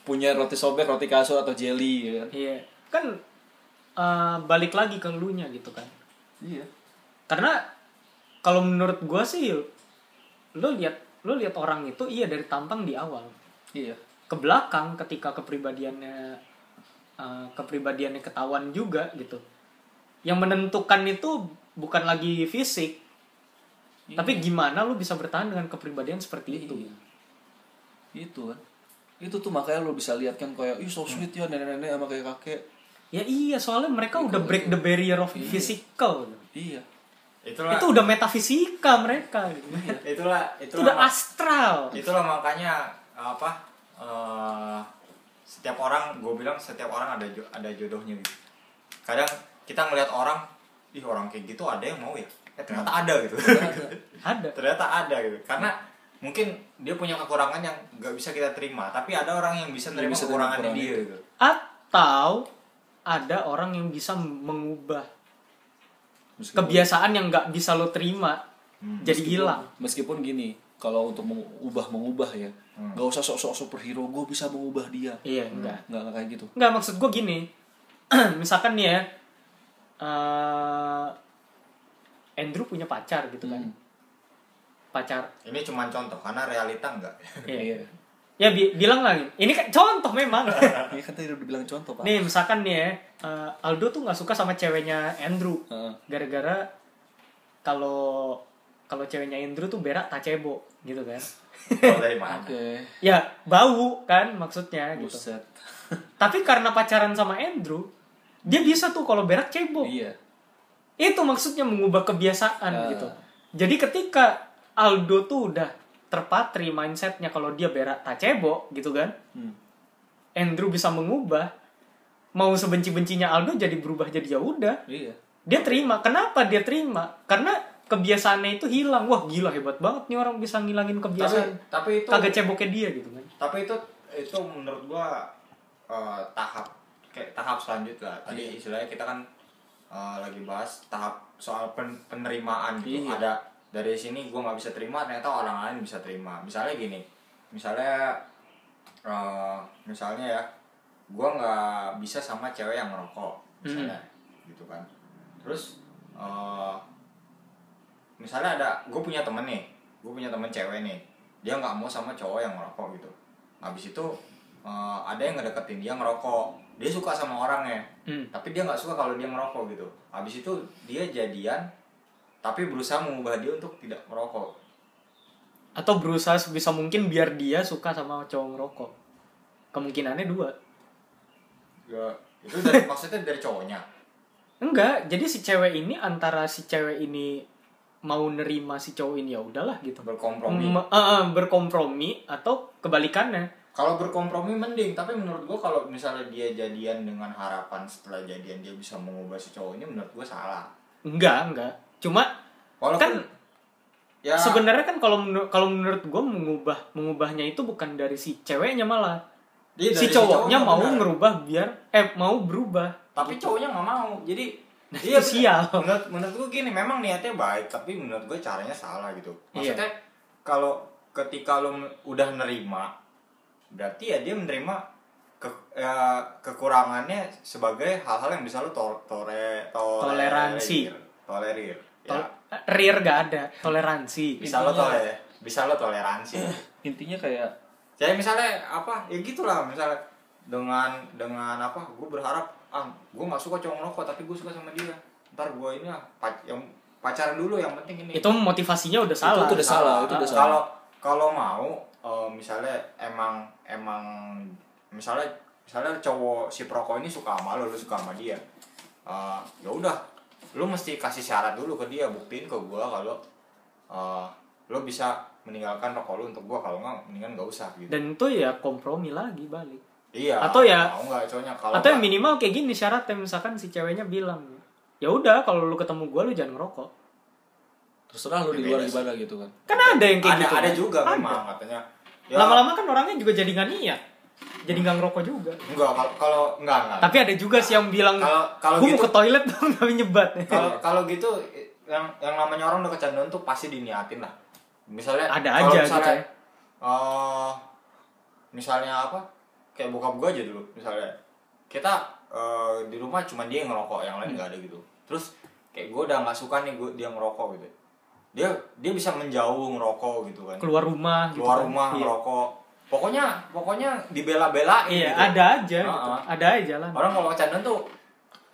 S2: punya roti sobek roti kasur atau jelly ya kan
S1: iya kan eh, balik lagi ke lunya gitu kan
S2: iya
S1: karena kalau menurut gua sih lo lihat lo lihat orang itu iya dari tampang di awal
S2: iya
S1: ke belakang ketika kepribadiannya eh, kepribadiannya ketahuan juga gitu yang menentukan itu bukan lagi fisik tapi gimana lu bisa bertahan dengan kepribadian seperti itu
S2: Iya. itu kan itu tuh makanya lo bisa lihat kan kayak ih so sweet ya nenek-nenek sama kayak kakek
S1: ya iya soalnya mereka udah break the barrier of physical
S2: iya
S3: Itulah
S1: itu udah metafisika mereka gitu.
S2: Iya.
S3: itulah
S1: itu
S3: itulah
S1: udah
S3: mak-
S1: astral
S3: itulah makanya apa eh, setiap orang gue bilang setiap orang ada jo- ada jodohnya gitu kadang kita ngelihat orang ih orang kayak gitu ada yang mau ya eh, ternyata
S1: Iya.
S3: ada gitu
S1: ada
S3: ternyata ada gitu karena mungkin dia punya kekurangan yang nggak bisa kita terima tapi ada orang yang bisa
S2: Yang
S3: nerima
S2: bisa terima
S3: kekurangannya
S2: kekurangan
S3: dia gitu
S1: atau ada orang yang bisa mengubah
S2: Meskipun-
S1: kebiasaan yang nggak bisa lo terima jadi hilang
S2: Hmm, meskipun gini kalau untuk mengubah mengubah ya nggak usah sok-sok superhero gue bisa mengubah dia
S1: iya enggak
S2: nggak nggak kayak gitu
S1: Nggak, maksud gue gini. Misalkan nih ya. eh, Andrew punya pacar gitu kan.
S2: Hmm.
S1: Pacar.
S3: ini cuma contoh karena realita enggak
S1: Iya. Ya bi- bilang lagi. Ini kan contoh memang.
S2: ini kan tadi udah dibilang contoh pak
S1: nih misalkan nih ya. eh, Aldo tuh nggak suka sama ceweknya Andrew.
S2: Heeh.
S1: Gara-gara kalau kalau ceweknya Andrew tuh berak tacebo gitu kan.
S3: Kalau dari mana
S2: oke
S1: Ya bau kan maksudnya gitu.
S2: buset
S1: Tapi karena pacaran sama Andrew, dia bisa tuh kalau berak cebok.
S2: iya
S1: itu maksudnya mengubah kebiasaan
S2: Ah.
S1: gitu jadi ketika Aldo tuh udah terpatri mindsetnya kalau dia berak tacebo gitu kan
S2: Hmm.
S1: Andrew bisa mengubah mau sebenci-bencinya Aldo jadi berubah jadi ya udah
S2: iya
S1: dia terima kenapa dia terima karena kebiasaannya itu hilang wah gila hebat banget nih orang bisa ngilangin
S3: tapi
S1: kebiasaan
S3: tapi itu
S1: kagak ceboknya dia gitu kan
S3: tapi itu itu menurut gua eh, tahap kayak tahap selanjutnya lah. tadi istilahnya kita kan eh, lagi bahas tahap soal pen- penerimaan gitu
S2: Iya.
S3: ada dari sini gua nggak bisa terima ternyata orang lain bisa terima misalnya gini misalnya eh, misalnya ya gua nggak bisa sama cewek yang merokok misalnya gitu kan terus eh, misalnya ada gue punya temen nih gue punya temen cewek nih dia nggak mau sama cowok yang ngerokok gitu habis itu eh, ada yang ngedeketin dia ngerokok dia suka sama orangnya
S1: Hmm.
S3: tapi dia nggak suka kalau dia ngerokok gitu habis itu dia jadian tapi berusaha mengubah dia untuk tidak merokok
S1: atau berusaha sebisa mungkin biar dia suka sama cowok rokok kemungkinannya dua
S3: Ya, itu dari maksudnya dari cowoknya
S1: Enggak, jadi si cewek ini antara si cewek ini mau nerima si cowok ini ya udahlah gitu.
S3: berkompromi
S1: Me- eh, eh, berkompromi atau kebalikannya.
S3: kalau berkompromi mending tapi menurut gua kalau misalnya dia jadian dengan harapan setelah jadian dia bisa mengubah si cowok ini menurut gua salah
S1: Enggak, enggak. Cuma kan
S3: walaupun ya
S1: sebenarnya kan kalau menur- kalau menurut gue mengubah mengubahnya itu bukan dari si ceweknya malah.
S3: dia
S1: si
S3: dari
S1: cowoknya mau
S3: benar.
S1: ngerubah biar eh mau berubah.
S3: tapi cowoknya nggak mau jadi
S1: Gitu. Nah,
S3: iya,
S1: itu sial.
S3: menurut menurut gue gini memang niatnya baik tapi menurut gue caranya salah gitu
S1: Iya.
S3: maksudnya kalau ketika lo m- udah nerima berarti ya dia menerima ke- ya, kekurangannya sebagai hal-hal yang bisa lo to- tore, tore-
S1: Toleransi.
S3: tolerir ya. Iya.
S1: Tol- Rir gak ada toleransi.
S3: bisa lo
S2: Intinya-
S3: tole bisa lo toleransi Iya.
S2: intinya kayak
S3: Jadi misalnya apa ya gitulah misalnya dengan dengan apa gue berharap ah gue nggak suka cowok ngerokok tapi gue suka sama dia ntar gue ini lah pac- yang pacaran dulu yang penting ini
S1: Itu motivasinya udah salah.
S2: itu udah salah, itu udah salah.
S3: kalau kalau mau eh, misalnya emang emang misalnya misalnya cowok si perokok ini suka sama lo lo suka sama dia Eh, ya udah lo mesti kasih syarat dulu ke dia buktiin ke gue kalau eh, lo bisa meninggalkan rokok lo untuk gue kalau nggak mendingan nggak usah gitu
S1: Dan itu ya kompromi lagi balik.
S3: Iya.
S1: Atau ya-
S3: mau nggak cowoknya kalau
S1: Atau yang
S3: nggak-
S1: minimal kayak gini syaratnya misalkan si ceweknya bilang ya udah kalau lu ketemu gua lu jangan ngerokok.
S2: terserah lu di
S3: Ya,
S2: luar
S3: beda sih.
S2: gimana gitu kan
S1: Kan ada yang kayak
S3: ada
S1: gitu.
S3: ada
S1: kan?
S3: juga
S1: Ada.
S3: memang katanya. Ya,
S1: Lama-lama kan orangnya juga jadi nggak niat. Jadi nggak ngerokok juga.
S3: enggak kalau kalau enggak enggak.
S1: Tapi ada juga sih yang bilang
S3: Kalau kalau
S1: gua
S3: gitu
S1: mau ke toilet dong tapi nyebat.
S3: kalau kalau gitu yang yang namanya orang udah kecanduan tuh pasti diniatin lah. Misalnya
S1: Ada
S3: kalau
S1: aja
S3: misalnya,
S1: gitu ya.
S3: eh, misalnya apa? Kayak bokap gua aja dulu misalnya. Kita eh, di rumah cuma dia yang ngerokok, yang
S1: Hmm.
S3: lain nggak ada gitu. Terus kayak gua udah nggak suka nih gua dia ngerokok gitu. Dia dia bisa menjauh ngerokok gitu kan.
S1: keluar rumah gitu
S3: keluar
S1: kan.
S3: rumah
S1: Iya.
S3: ngerokok pokoknya pokoknya dibela-belain
S1: Iya,
S3: gitu.
S1: ada aja gitu.
S3: Ah, ah.
S1: Ada aja lah.
S3: orang kalau kecanduan tuh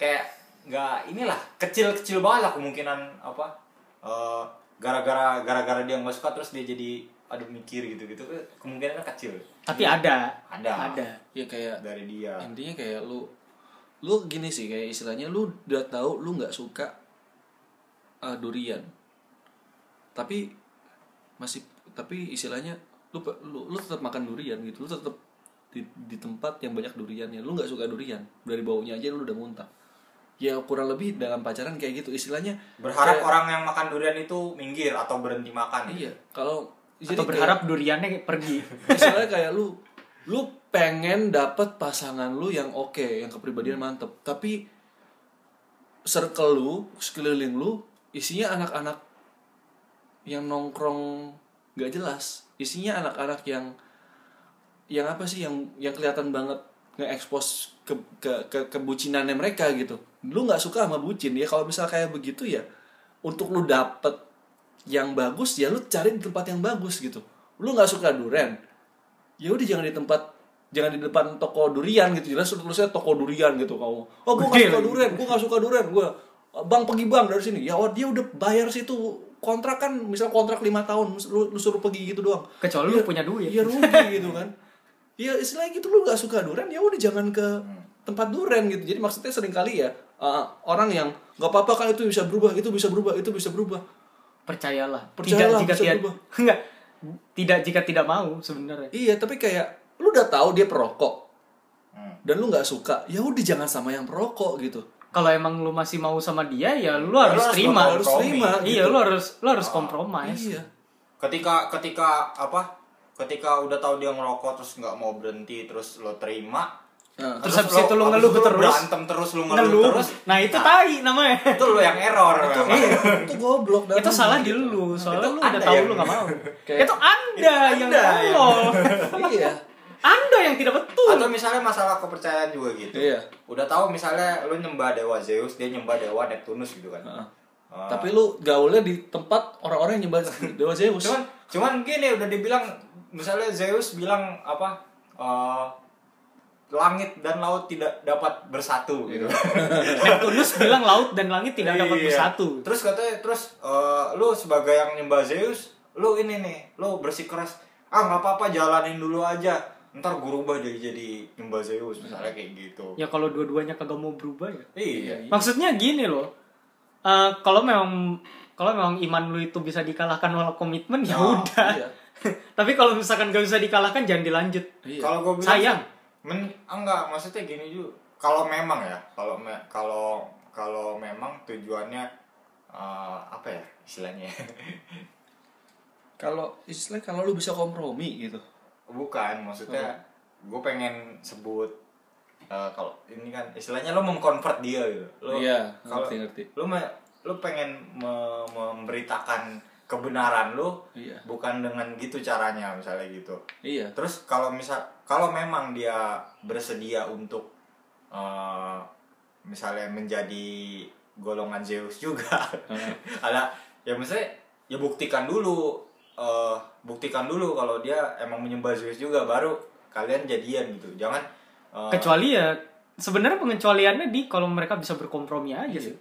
S3: kayak nggak inilah kecil-kecil banget lah kemungkinan apa eh, gara-gara gara-gara dia nggak suka terus dia jadi aduh mikir gitu-gitu Eh, kemungkinannya kecil
S1: Tapi ada.
S3: Iya. Ada.
S1: Ada.
S2: ya kayak
S3: dari dia
S2: intinya kayak lu lu gini sih kayak istilahnya lu udah tahu lu nggak suka uh, durian tapi masih tapi istilahnya lu pe- lu, lu tetap makan durian gitu lu tetap di, di tempat yang banyak duriannya lu nggak suka durian dari baunya aja lu udah muntah ya kurang lebih dalam pacaran kayak gitu istilahnya
S1: Iya.
S3: berharap
S2: kayak-
S3: orang yang makan durian itu minggir atau berhenti makan
S2: iya kalau
S1: Atau
S2: kayak-
S1: berharap duriannya pergi.
S2: misalnya kayak lu lu pengen dapet pasangan lu yang oke yang kepribadian mantep tapi circle lu sekeliling lu isinya anak-anak yang nongkrong gak jelas isinya anak-anak yang yang apa sih yang yang kelihatan banget nge-expose ke, ke, ke kebucinannya mereka gitu lu nggak suka sama bucin ya kalau misal kayak begitu ya untuk lu dapet yang bagus ya lu cari di tempat yang bagus gitu lu nggak suka durian ya udah jangan di tempat jangan di depan toko durian gitu jelas tulisnya toko durian gitu kamu oh gue nggak
S1: Gede
S2: suka
S1: lagi.
S2: durian gue nggak suka durian gue bang pergi bang dari sini ya oh, dia udah bayar situ kontrak kan misal kontrak lima tahun lu, lu suruh pergi gitu doang
S1: Kecuali lu punya duit.
S2: Iya rugi gitu kan. Iya istilahnya gitu lu gak suka durian ya udah jangan ke tempat durian gitu. Jadi maksudnya sering kali ya uh, orang yang nggak apa-apa kan itu bisa berubah, itu bisa berubah, itu bisa berubah.
S1: percayalah, tidak
S2: Percayalah,
S1: jika
S2: bisa
S1: tidak
S2: berubah.
S1: enggak tidak jika tidak mau sebenarnya
S2: Iya tapi kayak lu udah tahu dia perokok
S3: Hmm.
S2: dan lu nggak suka ya udah jangan sama yang perokok gitu.
S1: kalau emang lu masih mau sama dia ya lu
S3: Ya,
S1: harus
S3: lu harus
S1: terima
S3: berkompromi.
S2: Harus terima.
S1: iya
S2: gitu.
S1: lu harus lu harus kompromis
S2: Iya.
S3: ketika ketika apa ketika udah tahu dia ngerokok terus nggak mau berhenti terus lo terima
S2: Nah,
S1: Terus habis itu lo
S3: habis
S1: ngeluh
S3: itu
S1: terus.
S3: berantem terus lo ngeluh,
S1: Ngeluh.
S3: terus
S1: nah itu tai namanya
S3: itu lo yang error
S2: itu,
S3: memang.
S2: iya, itu goblok dan
S1: itu salah di lu soalnya lu
S3: Nah, Itu
S1: udah
S3: anda
S1: tahu
S3: yang-
S1: lu gak mau
S2: Kayak-
S1: itu anda
S3: Itu
S1: yang
S3: anda
S1: tolol
S2: Iya.
S1: anda yang tidak betul
S3: atau misalnya masalah kepercayaan juga gitu
S2: Iya.
S3: udah tahu misalnya lo nyembah dewa Zeus dia nyembah dewa Neptunus gitu kan
S2: Heeh.
S3: Ah.
S2: Tapi lu gaulnya di tempat orang-orang yang nyembah Dewa Zeus.
S3: cuman cuman gini udah dibilang misalnya Zeus bilang apa eh, langit dan laut tidak dapat bersatu gitu
S1: Iya. Neptunus bilang laut dan langit tidak dapat
S3: Iya.
S1: bersatu
S3: Terus katanya terus eh, lu sebagai yang nyembah Zeus, lu ini nih, lu bersikeras, ah nggak apa-apa jalanin dulu aja. ntar gue rubah jadi jadi nyembah Zeus misalnya kayak gitu
S1: ya kalau dua-duanya kagak mau berubah ya
S3: iya
S1: maksudnya gini loh Eh, kalau memang kalau memang iman lu itu bisa dikalahkan walau komitmen ya
S3: Oh,
S1: udah
S2: iya.
S1: tapi kalau misalkan gak bisa dikalahkan jangan dilanjut
S2: Iya.
S3: kalau gue bilang
S1: sayang
S3: men enggak maksudnya gini juga kalau memang ya kalau me- kalau kalau memang tujuannya eh, apa ya istilahnya
S2: kalau istilahnya kalau lu bisa kompromi gitu
S3: bukan maksudnya
S2: Hmm.
S3: gue pengen sebut eh, kalau ini kan istilahnya lo mengkonvert dia gitu lo
S2: Iya,
S3: kalau
S2: ngerti, ngerti.
S3: lo me- lo pengen me- memberitakan kebenaran lo
S2: Iya.
S3: bukan dengan gitu caranya misalnya gitu
S2: iya
S3: Terus kalau misal kalau memang dia bersedia untuk eh, misalnya menjadi golongan Zeus juga,
S1: Hmm.
S3: ada ya misalnya ya buktikan dulu, eh, buktikan dulu kalau dia emang menyembah Zeus juga baru kalian jadian gitu, jangan eh,
S1: kecuali ya sebenarnya pengecualiannya di kalau mereka bisa berkompromi aja sih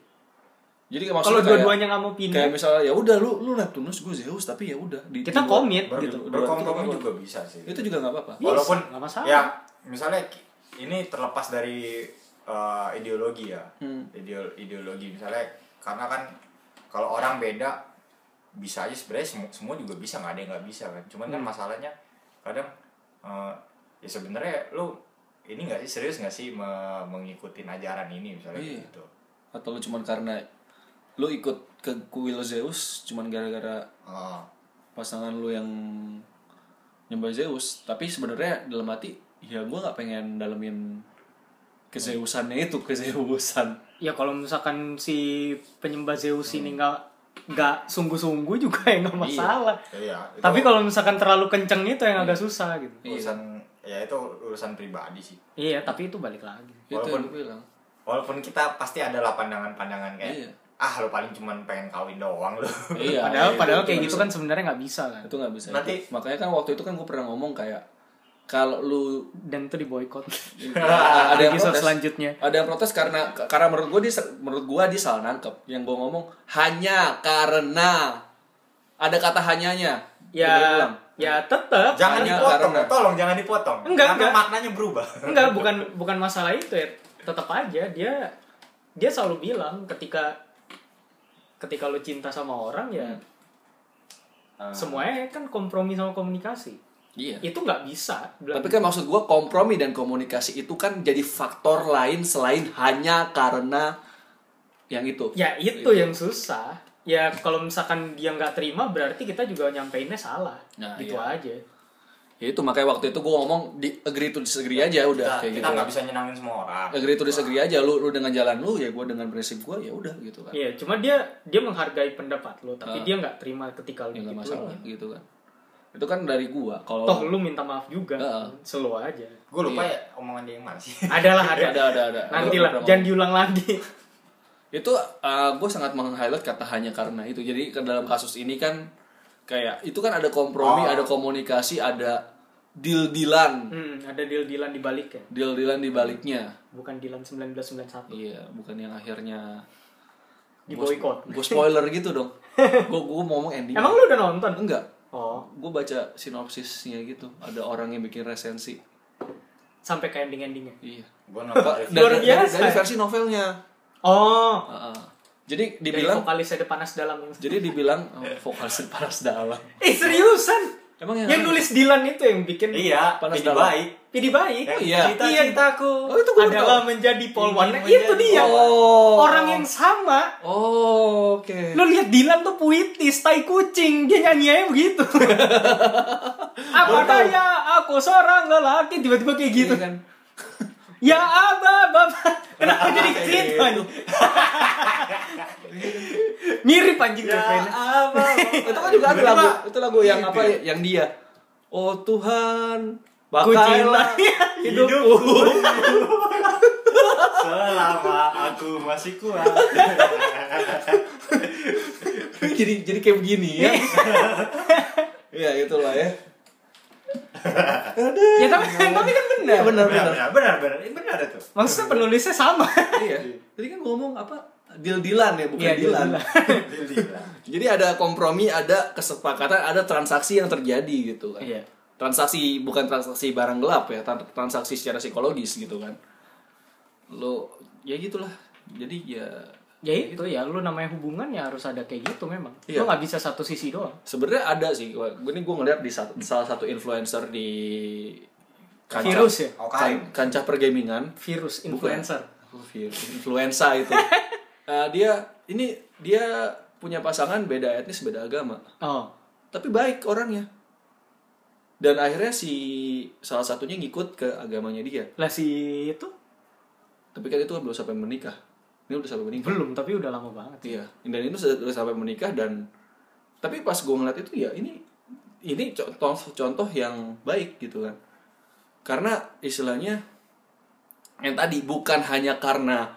S2: jadi
S1: kalau
S2: Iya. maksudnya kayak-
S1: dua-duanya nggak mau
S2: kayak
S1: pindah
S2: misalnya ya udah lu lu Neptunus gue Zeus tapi ya udah di-
S1: kita
S2: di luar-
S1: komit
S3: ber-
S1: gitu
S3: berkompromi juga bisa sih.
S2: itu juga nggak apa-apa
S1: Bisa,
S3: walaupun
S1: nggak masalah.
S3: ya misalnya ki- ini terlepas dari uh, ideologi ya
S1: Hmm.
S3: Ideo- ideologi misalnya karena kan kalau orang beda bisa aja sebenarnya semua, semua juga bisa nggak ada yang nggak bisa kan cuman
S1: Hmm.
S3: kan masalahnya kadang uh, ya sebenarnya lu ini nggak sih serius nggak sih me- mengikuti ajaran ini misalnya
S2: Iya.
S3: gitu
S2: atau lu cuman karena lu ikut ke kuil Zeus cuman gara-gara
S3: Uh,
S2: pasangan lu yang nyembah Zeus tapi sebenarnya dalam hati ya gue nggak pengen dalemin kezeusannya itu kezeusan
S1: ya kalau misalkan si penyembah Zeus ini
S2: Hmm.
S1: nggak nggak sungguh-sungguh juga ya nggak masalah
S3: iya itu
S1: tapi kalau misalkan terlalu kenceng itu yang agak susah gitu
S3: urusan ya itu urusan pribadi sih
S1: iya tapi itu balik lagi
S2: itu yang
S3: Walaupun-
S2: gue bilang
S3: walaupun kita pasti adalah pandangan-pandangan kayak
S2: Iya.
S3: ah lu paling cuman pengen kawin doang lu
S2: iya
S1: padahal
S2: itu-
S1: padahal
S2: itu
S1: kayak
S2: nggak
S1: gitu
S2: bisa.
S1: kan sebenarnya nggak bisa kan
S2: itu nggak bisa
S3: Nanti-
S2: Itu- makanya kan waktu itu kan gue pernah ngomong kayak kalau lu
S1: dan itu diboykot
S2: ada yang
S1: Episode
S2: protes
S1: selanjutnya.
S2: ada yang protes karena karena menurut gue dia menurut gue dia salah nangkep yang gue ngomong hanya karena ada kata hanyanya
S1: ya
S2: Dia bilang.
S1: ya tetap
S3: jangan
S2: Hanya
S3: dipotong
S2: karena-
S3: tolong jangan dipotong
S1: Enggak,
S3: karena
S1: enggak.
S3: maknanya berubah
S1: enggak bukan bukan masalah itu ya tetap aja dia dia selalu bilang ketika ketika lu cinta sama orang ya
S2: Ah.
S1: semuanya kan kompromi sama komunikasi
S2: iya
S1: itu nggak bisa bilang
S2: Tapi kan maksud gue kompromi dan komunikasi itu kan jadi faktor lain selain hanya karena yang itu.
S1: ya itu,
S2: Iya.
S1: yang susah ya kalau misalkan dia nggak terima berarti kita juga nyampeinnya salah
S2: Nah,
S1: gitu
S2: iya.
S1: aja
S2: Ya itu makanya waktu itu gue ngomong di agree to disagree aja udah
S3: kita
S2: kayak
S3: kita
S2: gitu.
S3: nggak bisa nyenangin semua orang
S2: Agree to disagree aja lu lu dengan jalan lu ya gue dengan prinsip gue ya udah gitu kan.
S1: Iya, cuma dia dia menghargai pendapat lo, tapi dia nggak terima ketika lo
S2: Ya, Ah. nggak
S1: gitu.
S2: masalah gitu kan. Itu kan dari gue kalau
S1: Toh lu minta maaf juga,
S2: Heeh.
S1: selo aja.
S3: gue lupa
S2: Iya.
S3: ya omongan dia yang mana sih
S1: Adalah ada.
S2: Ada, ada, ada.
S1: Nanti
S2: Ada
S1: lah,
S2: beberapa
S1: jangan diulang lagi.
S2: itu gue sangat meng-highlight kata hanya karena itu jadi ke dalam kasus ini kan kayak itu kan ada kompromi
S3: Oh.
S2: ada komunikasi ada deal dealan
S1: Hmm, ada deal-dealan di balik ya.
S2: deal dealan di baliknya
S1: Bukan dealan 1991.
S2: iya bukan yang akhirnya
S1: Di boykot.
S2: gue spoiler gitu dong gue gue ngomong ending
S1: Emang lu udah nonton?
S2: enggak
S1: Oh,
S2: gue baca sinopsisnya gitu ada orang yang bikin resensi
S1: sampai ke ending-endingnya.
S2: iya
S3: gue nonton review.
S1: Luar biasa.
S2: dari versi novelnya
S1: Oh,
S2: Heeh. jadi
S1: dari
S2: dibilang
S1: vokalis ada panas dalam. yang-
S2: jadi dibilang oh, vokalis paras dalam
S1: Eh, seriusan?
S2: emang
S1: Yang nulis Dylan itu yang bikin
S3: iya
S2: Panas
S3: jadi
S2: dalam.
S3: baik
S1: Pidi baik.
S3: Yang
S2: iya.
S1: Cita-citaku
S2: Oh, itu gua
S1: adalah
S2: tahu.
S1: menjadi Paul
S3: Ingin
S1: Warner.
S3: menjadi-
S1: Itu dia.
S2: Oh.
S1: Orang yang sama.
S2: Oh, oke.
S1: Lu lihat Dilan tuh puitis, tai kucing, dia nyanyiannya begitu. aku tanya, aku seorang lelaki tiba-tiba kayak gitu.
S2: Iya kan?
S1: Ya apa, bapak? Kenapa jadi
S3: Kayak
S1: cerita
S3: gitu.
S1: anjing? Mirip anjing
S3: Ya,
S1: refrainnya.
S3: apa
S2: itu kan juga ada
S3: Tiba-tiba,
S2: lagu, itu lagu yang
S1: Iya.
S3: gitu
S2: apa
S3: ya?
S2: ya? Yang dia. Oh Tuhan,
S1: Ku
S2: pakailah
S1: cinta
S3: hidupku
S1: hidupku.
S3: selama aku masih kuat
S2: jadi jadi kayak begini ya.
S1: Iya.
S2: ya itulah ya.
S1: Ya tapi, tapi kan benar.
S2: Iya benar benar.
S3: benar benar benar ini benar itu
S1: Maksudnya penulisnya sama.
S2: Iya. Tadi kan ngomong apa? Deal-dealan ya, bukan
S1: Iya,
S2: dealan.
S1: deal-dealan.
S3: Gila.
S2: Jadi ada kompromi, ada kesepakatan, ada transaksi yang terjadi gitu kan.
S1: Iya.
S2: transaksi bukan transaksi barang gelap ya tran- transaksi secara psikologis gitu kan lo ya gitulah jadi ya
S1: ya itu ya lu namanya hubungan ya harus ada kayak gitu memang lu
S2: Iya.
S1: nggak bisa satu sisi doang
S2: sebenarnya ada sih Gua- ini gue ngeliat di sa- salah satu influencer di
S1: Virus ya?
S2: kan- kancah pergamingan
S1: virus
S2: Bukan. ya?
S1: influencer
S2: Virus. influenza itu Eh, dia ini dia punya pasangan beda etnis beda agama
S1: oh
S2: tapi baik orangnya dan akhirnya si salah satunya ngikut ke agamanya dia
S1: lah si itu
S2: tapi kan itu kan belum sampai menikah ini udah sampai menikah
S1: belum tapi udah lama banget
S2: iya dan itu sudah sampai menikah dan tapi pas gue ngeliat itu ya ini ini contoh contoh yang baik gitu kan karena istilahnya yang tadi bukan hanya karena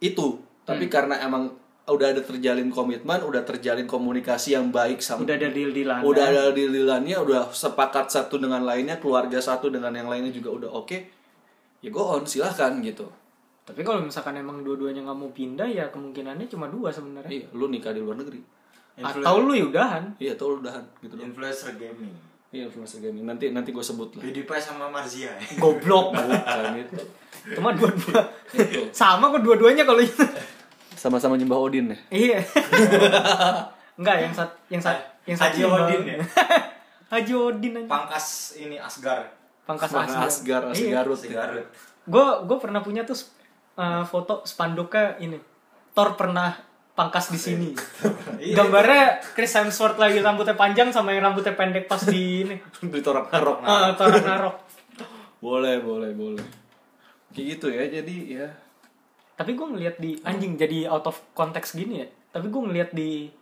S2: itu
S1: Hmm.
S2: tapi karena emang udah ada terjalin komitmen udah terjalin komunikasi yang baik sama
S1: udah ada deal dealan
S2: udah ada deal-dealannya udah sepakat satu dengan lainnya keluarga satu dengan yang lainnya juga udah oke ya go on silahkan gitu
S1: tapi kalau misalkan emang dua-duanya nggak mau pindah ya kemungkinannya cuma dua sebenarnya
S2: iya lu nikah di luar negeri
S1: atau lu ya udahan
S2: iya tau lu udahan gitu dong
S3: influencer gaming
S2: iya influencer gaming nanti nanti gue sebut lah
S3: PewDiePie sama Marzia
S1: goblok
S2: bukan itu
S1: cuma dua-dua
S2: Itu.
S1: sama kok dua-duanya kalau itu
S2: sama-sama nyembah Odin ya
S1: iya enggak yang sat yang sat yang satu
S3: Haji
S1: yang baru.
S3: Odin ya?
S1: Haji Odin aja
S3: pangkas ini Asgar
S1: pangkas
S2: Mana Asgar, Asgarut
S3: si
S2: ya.
S3: Garut
S1: gue gue pernah punya tuh sp- eh, foto spanduknya ini Thor pernah pangkas di sini
S3: Iya.
S1: gambarnya Chris Hemsworth lagi rambutnya panjang sama yang rambutnya pendek pas di ini
S2: di torak narok
S1: Eh, Thor Ragnarok
S2: boleh boleh boleh kayak gitu ya jadi ya
S1: tapi gue ngeliat di anjing jadi out of context gini ya tapi gue ngeliat di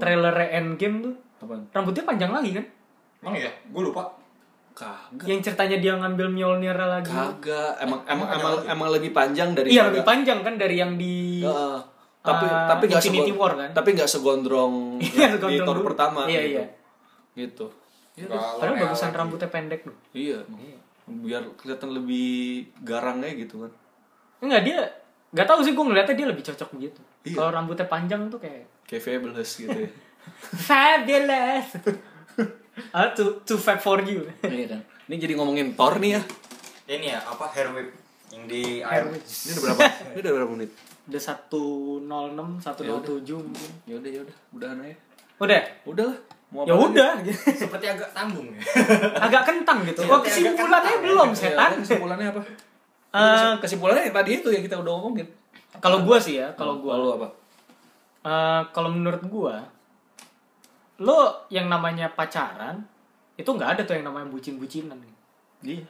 S1: trailer Endgame tuh
S2: apaan
S1: rambutnya panjang lagi kan
S3: emang
S2: iya?
S3: ya gue lupa
S2: kagak
S1: yang ceritanya dia ngambil Mjolnir lagi
S2: kagak emang emang emang, emang lebih panjang dari
S1: iya lebih panjang kan dari yang di
S2: Heeh. tapi
S1: Eh,
S2: tapi nggak
S1: Infinity
S2: segon-
S1: War kan?
S2: tapi nggak segondrong
S1: Iya,
S2: di
S1: segondrong
S2: Thor
S1: dulu.
S2: pertama
S1: Iya,
S2: gitu.
S1: iya.
S2: gitu
S3: Iya,
S1: padahal bagusan rambutnya pendek tuh
S2: iya emang. biar kelihatan lebih garang aja gitu kan
S1: Enggak dia Gak tahu sih gue ngeliatnya dia lebih cocok begitu
S2: Iya.
S1: Kalau rambutnya panjang tuh kayak
S2: kayak fabulous gitu ya
S1: Fabulous Ah, too, too fat for you
S2: iya kan ini jadi ngomongin Thor nih ya
S3: ini ya apa hair whip yang di air
S1: Air.
S2: ini udah berapa ini udah berapa menit
S1: Udah 106, 107 mungkin
S2: ya udah ya udah udahan aja
S1: Udah
S2: udah lah mau
S1: Ya
S2: lagi?
S1: udah
S3: seperti agak tanggung ya
S1: Agak kentang gitu
S3: Iya,
S1: Kok
S3: agak
S1: kesimpulannya
S3: kentang.
S1: belum
S2: Iya,
S1: setan
S2: kesimpulannya apa
S1: Eh,
S2: kesimpulannya yang tadi itu yang kita udah ngomongin
S1: Kalau gue sih ya Kalau gue
S2: Lalu apa
S1: Eh, kalau menurut gua lo yang namanya pacaran itu nggak ada tuh yang namanya bucin-bucinan
S2: iya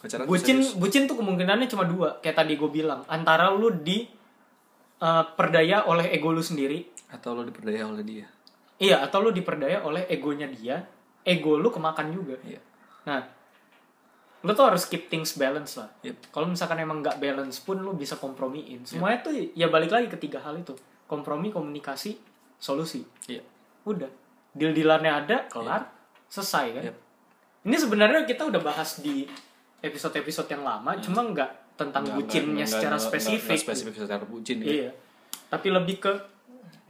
S2: pacaran tuh
S1: bucin
S2: serius.
S1: bucin tuh kemungkinannya cuma dua kayak tadi gue bilang antara lu di eh, perdaya oleh ego lu sendiri
S2: atau lo diperdaya oleh dia
S1: iya atau lu diperdaya oleh egonya dia ego lu kemakan juga
S2: iya
S1: nah lu tuh harus keep things balance lah
S2: Yep.
S1: kalau misalkan emang nggak balance pun lu bisa kompromiin semuanya tuh ya balik lagi ketiga hal itu kompromi komunikasi solusi
S2: iya
S1: udah deal dealannya ada kelar selesai kan
S2: Yep.
S1: ini sebenarnya kita udah bahas di episode episode yang lama cuma nggak tentang
S2: Iya. Nggak-
S1: bucinnya
S2: nggak-
S1: secara
S2: nggak-
S1: spesifik,
S2: nggak spesifik secara bucin ya.
S1: iya tapi lebih ke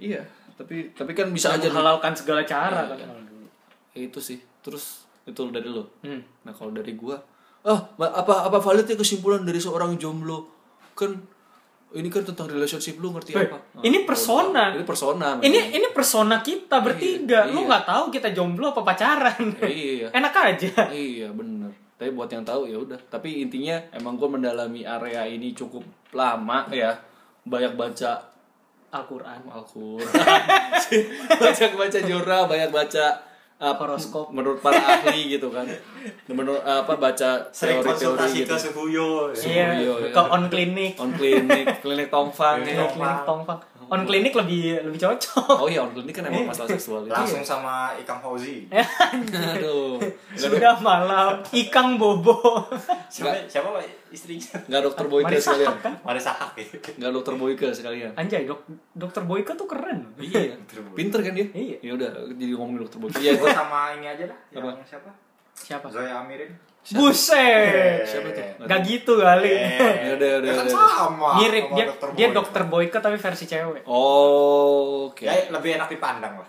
S2: Iya, tapi tapi kan bisa aja Iya, nih.
S1: menghalalkan segala cara kan kalau dulu.
S2: itu sih. Terus itu dari lo.
S1: Hmm.
S2: Nah, kalau dari gua, ah ma- apa apa validnya kesimpulan dari seorang jomblo? Kan ini kan tentang relationship lu ngerti
S1: Weh,
S2: apa? Ah,
S1: ini persona.
S2: Ini persona.
S1: ini
S2: memang.
S1: ini persona kita bertiga
S2: iya.
S1: lu nggak tahu kita jomblo apa pacaran
S2: Iya.
S1: enak aja
S2: iya, bener. Tapi buat yang tahu ya udah. Tapi intinya emang gua mendalami area ini cukup lama ya. Banyak baca
S1: Al-Quran
S2: Al-Quran banyak baca jurnal banyak baca uh,
S1: Horoskop.
S2: menurut para ahli gitu kan menurut uh, apa baca
S3: sering
S2: teori-teori
S3: konsultasi ke
S2: gitu
S3: Suhuyo ya.
S1: iya
S2: iya, iya.
S1: ke on clinic
S2: on klinik klinik tongfang ya.
S1: on clinic tongfang on clinic lebih lebih cocok
S2: oh iya on klinik kan emang masalah seksual itu
S3: langsung sama Ikang Fauzi
S1: Eh,
S2: aduh nggak
S1: sudah malam ikang bobo
S3: siapa siapa Pak? istrinya
S2: nggak dokter boyke
S1: Marisa
S2: sekalian
S1: kan?
S3: Marisa Hak ya
S2: nggak dokter boyke sekalian
S1: Anjay, dok dokter Boyka tuh keren.
S2: iya pinter kan dia
S1: Iya.
S2: ya udah jadi ngomongin dokter boyke iya
S3: gue sama ini aja lah
S2: Apa?
S3: yang siapa
S1: Siapa?
S3: Zoya Amirin
S1: Buset.
S2: siapa tuh
S1: Gak gitu kali.
S2: Ya udah, udah,
S3: Ya kan
S2: udah.
S3: sama
S1: Mirip
S3: sama
S1: dia dia
S3: Boy.
S1: dokter Boyka tapi versi cewek.
S2: oh oke
S3: ya lebih enak dipandang lah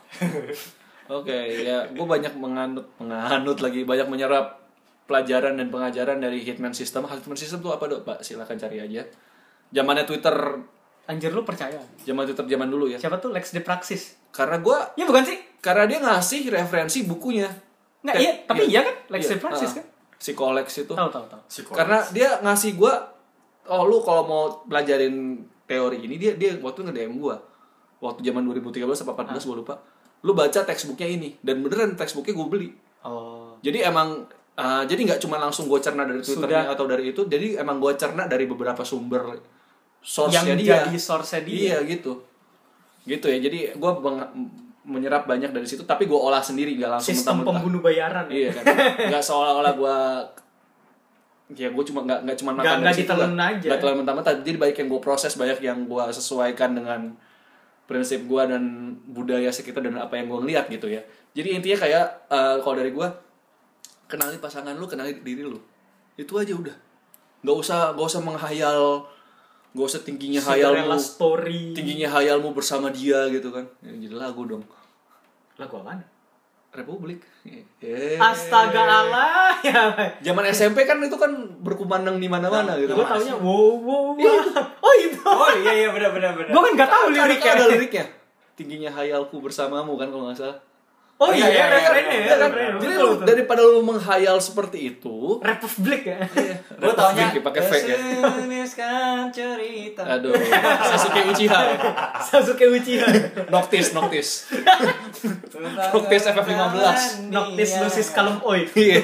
S2: Oke, ya gue banyak menganut, menganut lagi, banyak menyerap pelajaran dan pengajaran dari Hitman System. Hitman System tuh apa dok, Pak? Silahkan cari aja. Zamannya Twitter,
S1: Anjir lu percaya?
S2: zaman Twitter zaman dulu ya.
S1: Siapa tuh Lex de Praxis?
S2: Karena gue,
S1: Iya bukan sih?
S2: karena dia ngasih referensi bukunya.
S1: Nggak,
S2: Kayak-
S1: iya, tapi iya, kan? Lex
S2: Iya,
S1: de Praxis
S2: ah,
S1: kan?
S2: Si Kolex itu.
S1: Tahu tahu tahu.
S3: Psikolog.
S2: Karena dia ngasih gue, oh lu kalau mau pelajarin teori ini, dia dia waktu nge-DM gue. Waktu zaman 2013 apa
S1: Ah.
S2: 14 gue lupa. Lu baca textbooknya ini. Dan beneran textbooknya gue beli.
S1: Oh.
S2: Jadi emang uh, jadi nggak cuma langsung gue cerna dari Twitternya atau dari itu, jadi emang gue cerna dari beberapa sumber source
S1: Yang
S2: dia.
S1: jadi source-nya dia.
S2: Iya gitu, gitu ya. Jadi gue menyerap banyak dari situ, tapi gue olah sendiri nggak langsung
S1: Sistem
S2: mentah-mentah.
S1: pembunuh bayaran.
S2: Iya kan, nggak seolah-olah gue ya gue cuma nggak nggak cuma
S1: Nggak-
S2: makan
S1: nggak
S2: dari situ
S1: ditelan
S2: lah.
S1: aja.
S2: nggak telan mentah-mentah jadi banyak yang gue proses banyak yang gue sesuaikan dengan prinsip gue dan budaya sekitar dan apa yang gue ngeliat gitu ya jadi intinya kayak eh, kalau dari gue kenali pasangan lu kenali diri lu itu aja udah nggak usah nggak usah menghayal nggak usah tingginya
S1: Cinderella
S2: hayalmu
S1: story.
S2: tingginya hayalmu bersama dia gitu kan ya, jadi lagu dong
S1: Lagu apaan?
S2: Republik Eh.
S1: Astaga Allah. Ya.
S2: zaman SMP kan itu kan berkumandang di mana-mana gitu
S1: Gue Nah, taunya wow wow.
S2: Iya,
S1: wow. Oh itu.
S3: Oh iya iya benar benar benar.
S1: Gue kan gak tahu
S2: ada,
S1: liriknya.
S2: ada liriknya tingginya hayalku bersamamu kan kalau nggak salah
S1: Oh iya,
S3: Iya, iya, iya,
S1: referennya ya,
S3: iya, iya, iya.
S1: referennya.
S2: kan? jadi
S1: Betul,
S2: lu
S1: betul.
S2: daripada lu menghayal seperti itu
S1: Republik ya.
S2: Iya.
S3: Gue taunya
S2: pakai fake ya
S3: Kesemiskan cerita.
S2: aduh Sasuke Uchiha ya.
S1: Sasuke Uchiha.
S2: Iya. Noctis Noctis Noctis FF15
S1: Noctis Lucis Kalum Oi.
S2: Iya.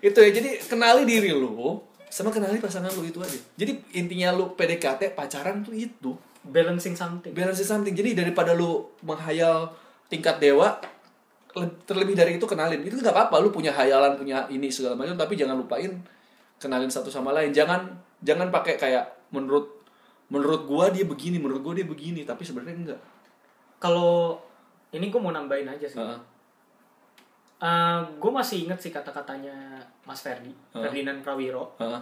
S2: itu ya. Jadi kenali diri lu sama kenali pasangan lu itu aja. Jadi intinya lu PDKT pacaran tuh itu
S1: Balancing something.
S2: balance is something. Jadi daripada lu menghayal tingkat dewa le- terlebih dari itu kenalin. Itu nggak apa-apa lu punya hayalan, punya ini segala macam tapi jangan lupain kenalin satu sama lain. Jangan jangan pakai kayak menurut menurut gua dia begini, menurut gua dia begini, tapi sebenarnya enggak.
S1: Kalau ini gue mau nambahin aja sih.
S2: Heeh.
S1: gue masih inget sih kata-katanya Mas Ferdi,
S2: Heeh.
S1: Ferdinand Prawiro,
S2: Heeh.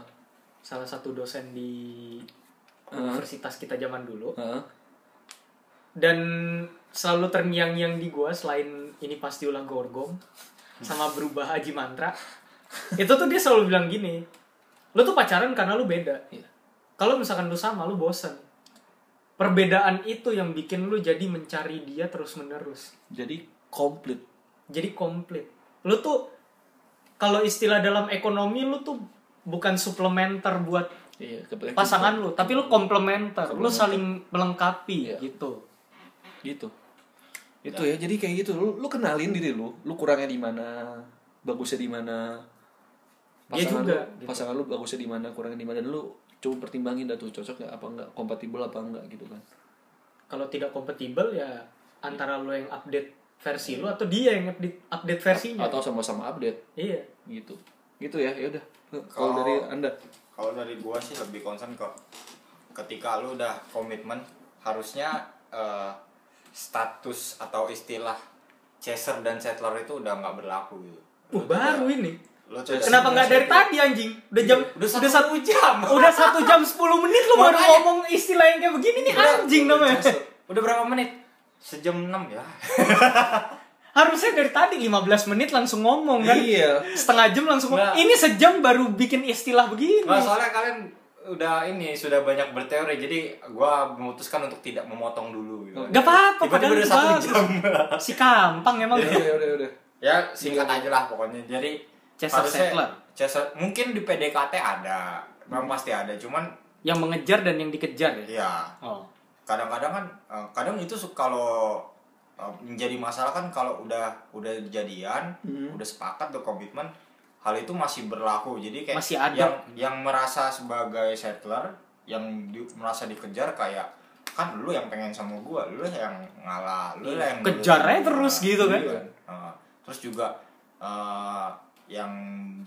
S1: salah satu dosen di
S2: Heeh.
S1: universitas kita zaman dulu.
S2: Heeh.
S1: Dan selalu terngiang-ngiang di gue selain ini pasti ulang gorgom sama berubah haji mantra. itu tuh dia selalu bilang gini, lu tuh pacaran karena lu beda.
S2: Iya.
S1: Kalau misalkan lu sama, lu bosen. Perbedaan itu yang bikin lu jadi mencari dia terus-menerus.
S2: Jadi komplit.
S1: jadi komplit lu tuh kalau istilah dalam ekonomi lu tuh bukan suplementer buat
S2: Iya, kebetulan-
S1: pasangan lu tapi lu komplementer lu saling melengkapi
S2: Iya.
S1: gitu
S2: gitu itu ya jadi kayak gitu lu, lu kenalin diri lu lu kurangnya di mana bagusnya di mana
S1: Dia
S2: pasangan
S1: juga,
S2: lu,
S1: gitu.
S2: pasangan lu bagusnya di mana kurangnya di mana dan lu coba pertimbangin dah tuh cocok nggak apa nggak kompatibel apa enggak gitu kan
S1: kalau tidak kompatibel ya antara lu yang update versi lu atau dia yang update update versinya
S2: atau sama-sama update
S1: iya
S2: gitu gitu ya ya udah kalau dari anda
S3: Kalau dari gua sih lebih concern kok ketika lu udah komitmen harusnya eh, status atau istilah chaser dan settler itu udah nggak berlaku gitu.
S1: uh baru ini
S3: Lu tuh udah-
S1: kenapa nggak dari tadi anjing udah jam
S3: Udah satu jam.
S1: udah satu jam 10 menit lu baru
S3: Makanya.
S1: ngomong istilah yang kayak begini nih anjing namanya
S3: Udah berapa menit? Sejam 6 ya.
S1: harusnya dari tadi 15 menit langsung ngomong kan
S2: iya
S1: setengah jam langsung
S3: Nggak.
S1: ini sejam baru bikin istilah begini
S3: Nah, soalnya kalian udah ini sudah banyak berteori jadi gua memutuskan untuk tidak memotong dulu gitu.
S1: gak apa-apa
S3: Tiba-tiba
S1: padahal
S3: udah
S1: itu
S3: satu
S1: bagus.
S3: jam. Iya.
S1: si kampang emang
S2: ya udah udah, udah.
S3: ya singkat aja lah pokoknya jadi
S1: Chester Settler.
S3: Chester mungkin di PDKT ada memang pasti ada cuman
S1: yang mengejar dan yang dikejar ya
S3: ya
S1: oh
S3: kadang-kadang kan eh, kadang itu su- kalau eh, menjadi masalah kan kalau udah udah jadian
S1: Hmm.
S3: udah sepakat tuh komitmen hal itu masih berlaku jadi kayak
S1: Masih ada.
S3: yang yang merasa sebagai settler yang di- merasa dikejar kayak kan lu yang pengen sama gua lu yang ngalah lu lah yang
S1: Kejar aja
S3: dulu."
S1: terus gitu kan.
S3: Iya. Nah, terus juga eh, yang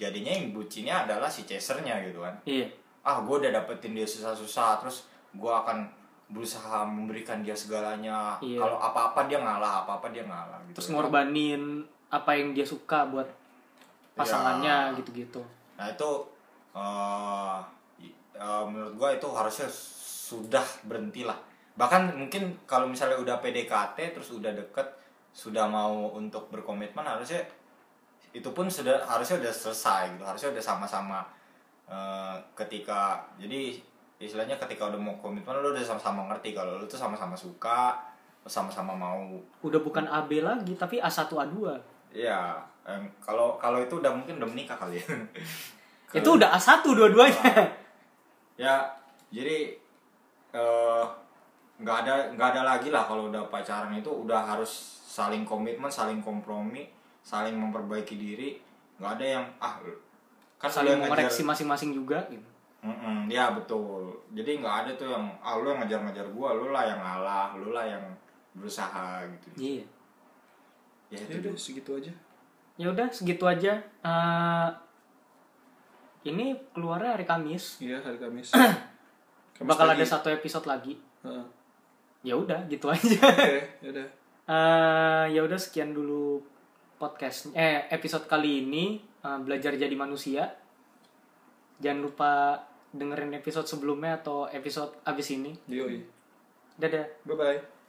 S3: jadinya yang bucinnya adalah si chasernya gitu kan
S1: iya
S3: ah gue udah dapetin dia susah-susah terus gue akan berusaha memberikan dia segalanya
S1: Iya.
S3: kalau apa-apa dia ngalah apa-apa dia ngalah gitu
S1: terus ngorbanin apa yang dia suka buat pasangannya
S3: Ya.
S1: gitu-gitu
S3: nah itu eh, i- eh, menurut gue itu harusnya sudah berhentilah bahkan mungkin kalau misalnya udah PDKT terus udah deket sudah mau untuk berkomitmen harusnya itu pun sudah harusnya udah selesai gitu harusnya udah sama-sama eh, ketika jadi istilahnya ketika udah mau komitmen lo udah sama-sama ngerti kalau lo tuh sama-sama suka sama-sama mau
S1: udah bukan AB lagi tapi A1 A2
S3: ya em, kalau kalau itu udah mungkin udah menikah kali ya
S1: itu udah A1 dua-duanya
S3: ya jadi eh, nggak ada nggak ada lagi lah kalau udah pacaran itu udah harus saling komitmen saling kompromi saling memperbaiki diri nggak ada yang ah kan
S1: saling
S3: udah
S1: mengoreksi masing-masing juga gitu.
S3: Mm-mm, ya betul. Jadi nggak ada tuh yang ah lu yang ngajar-ngajar gua, lu lah yang ngalah, lu lah yang berusaha gitu.
S1: Iya.
S3: Ya
S2: Ya
S3: itu.
S2: udah segitu aja.
S1: Ya udah segitu aja. Eh, ini keluarnya hari Kamis.
S2: Iya hari Kamis. Kamis
S1: Bakal
S2: pagi.
S1: ada satu episode lagi.
S2: Heeh.
S1: Ya udah gitu aja.
S2: Oke, ya udah.
S1: Eh, ya udah sekian dulu podcast eh episode kali ini eh, belajar jadi manusia. Jangan lupa dengerin episode sebelumnya atau episode abis ini.
S2: Yoi.
S1: Dadah.
S2: Bye bye.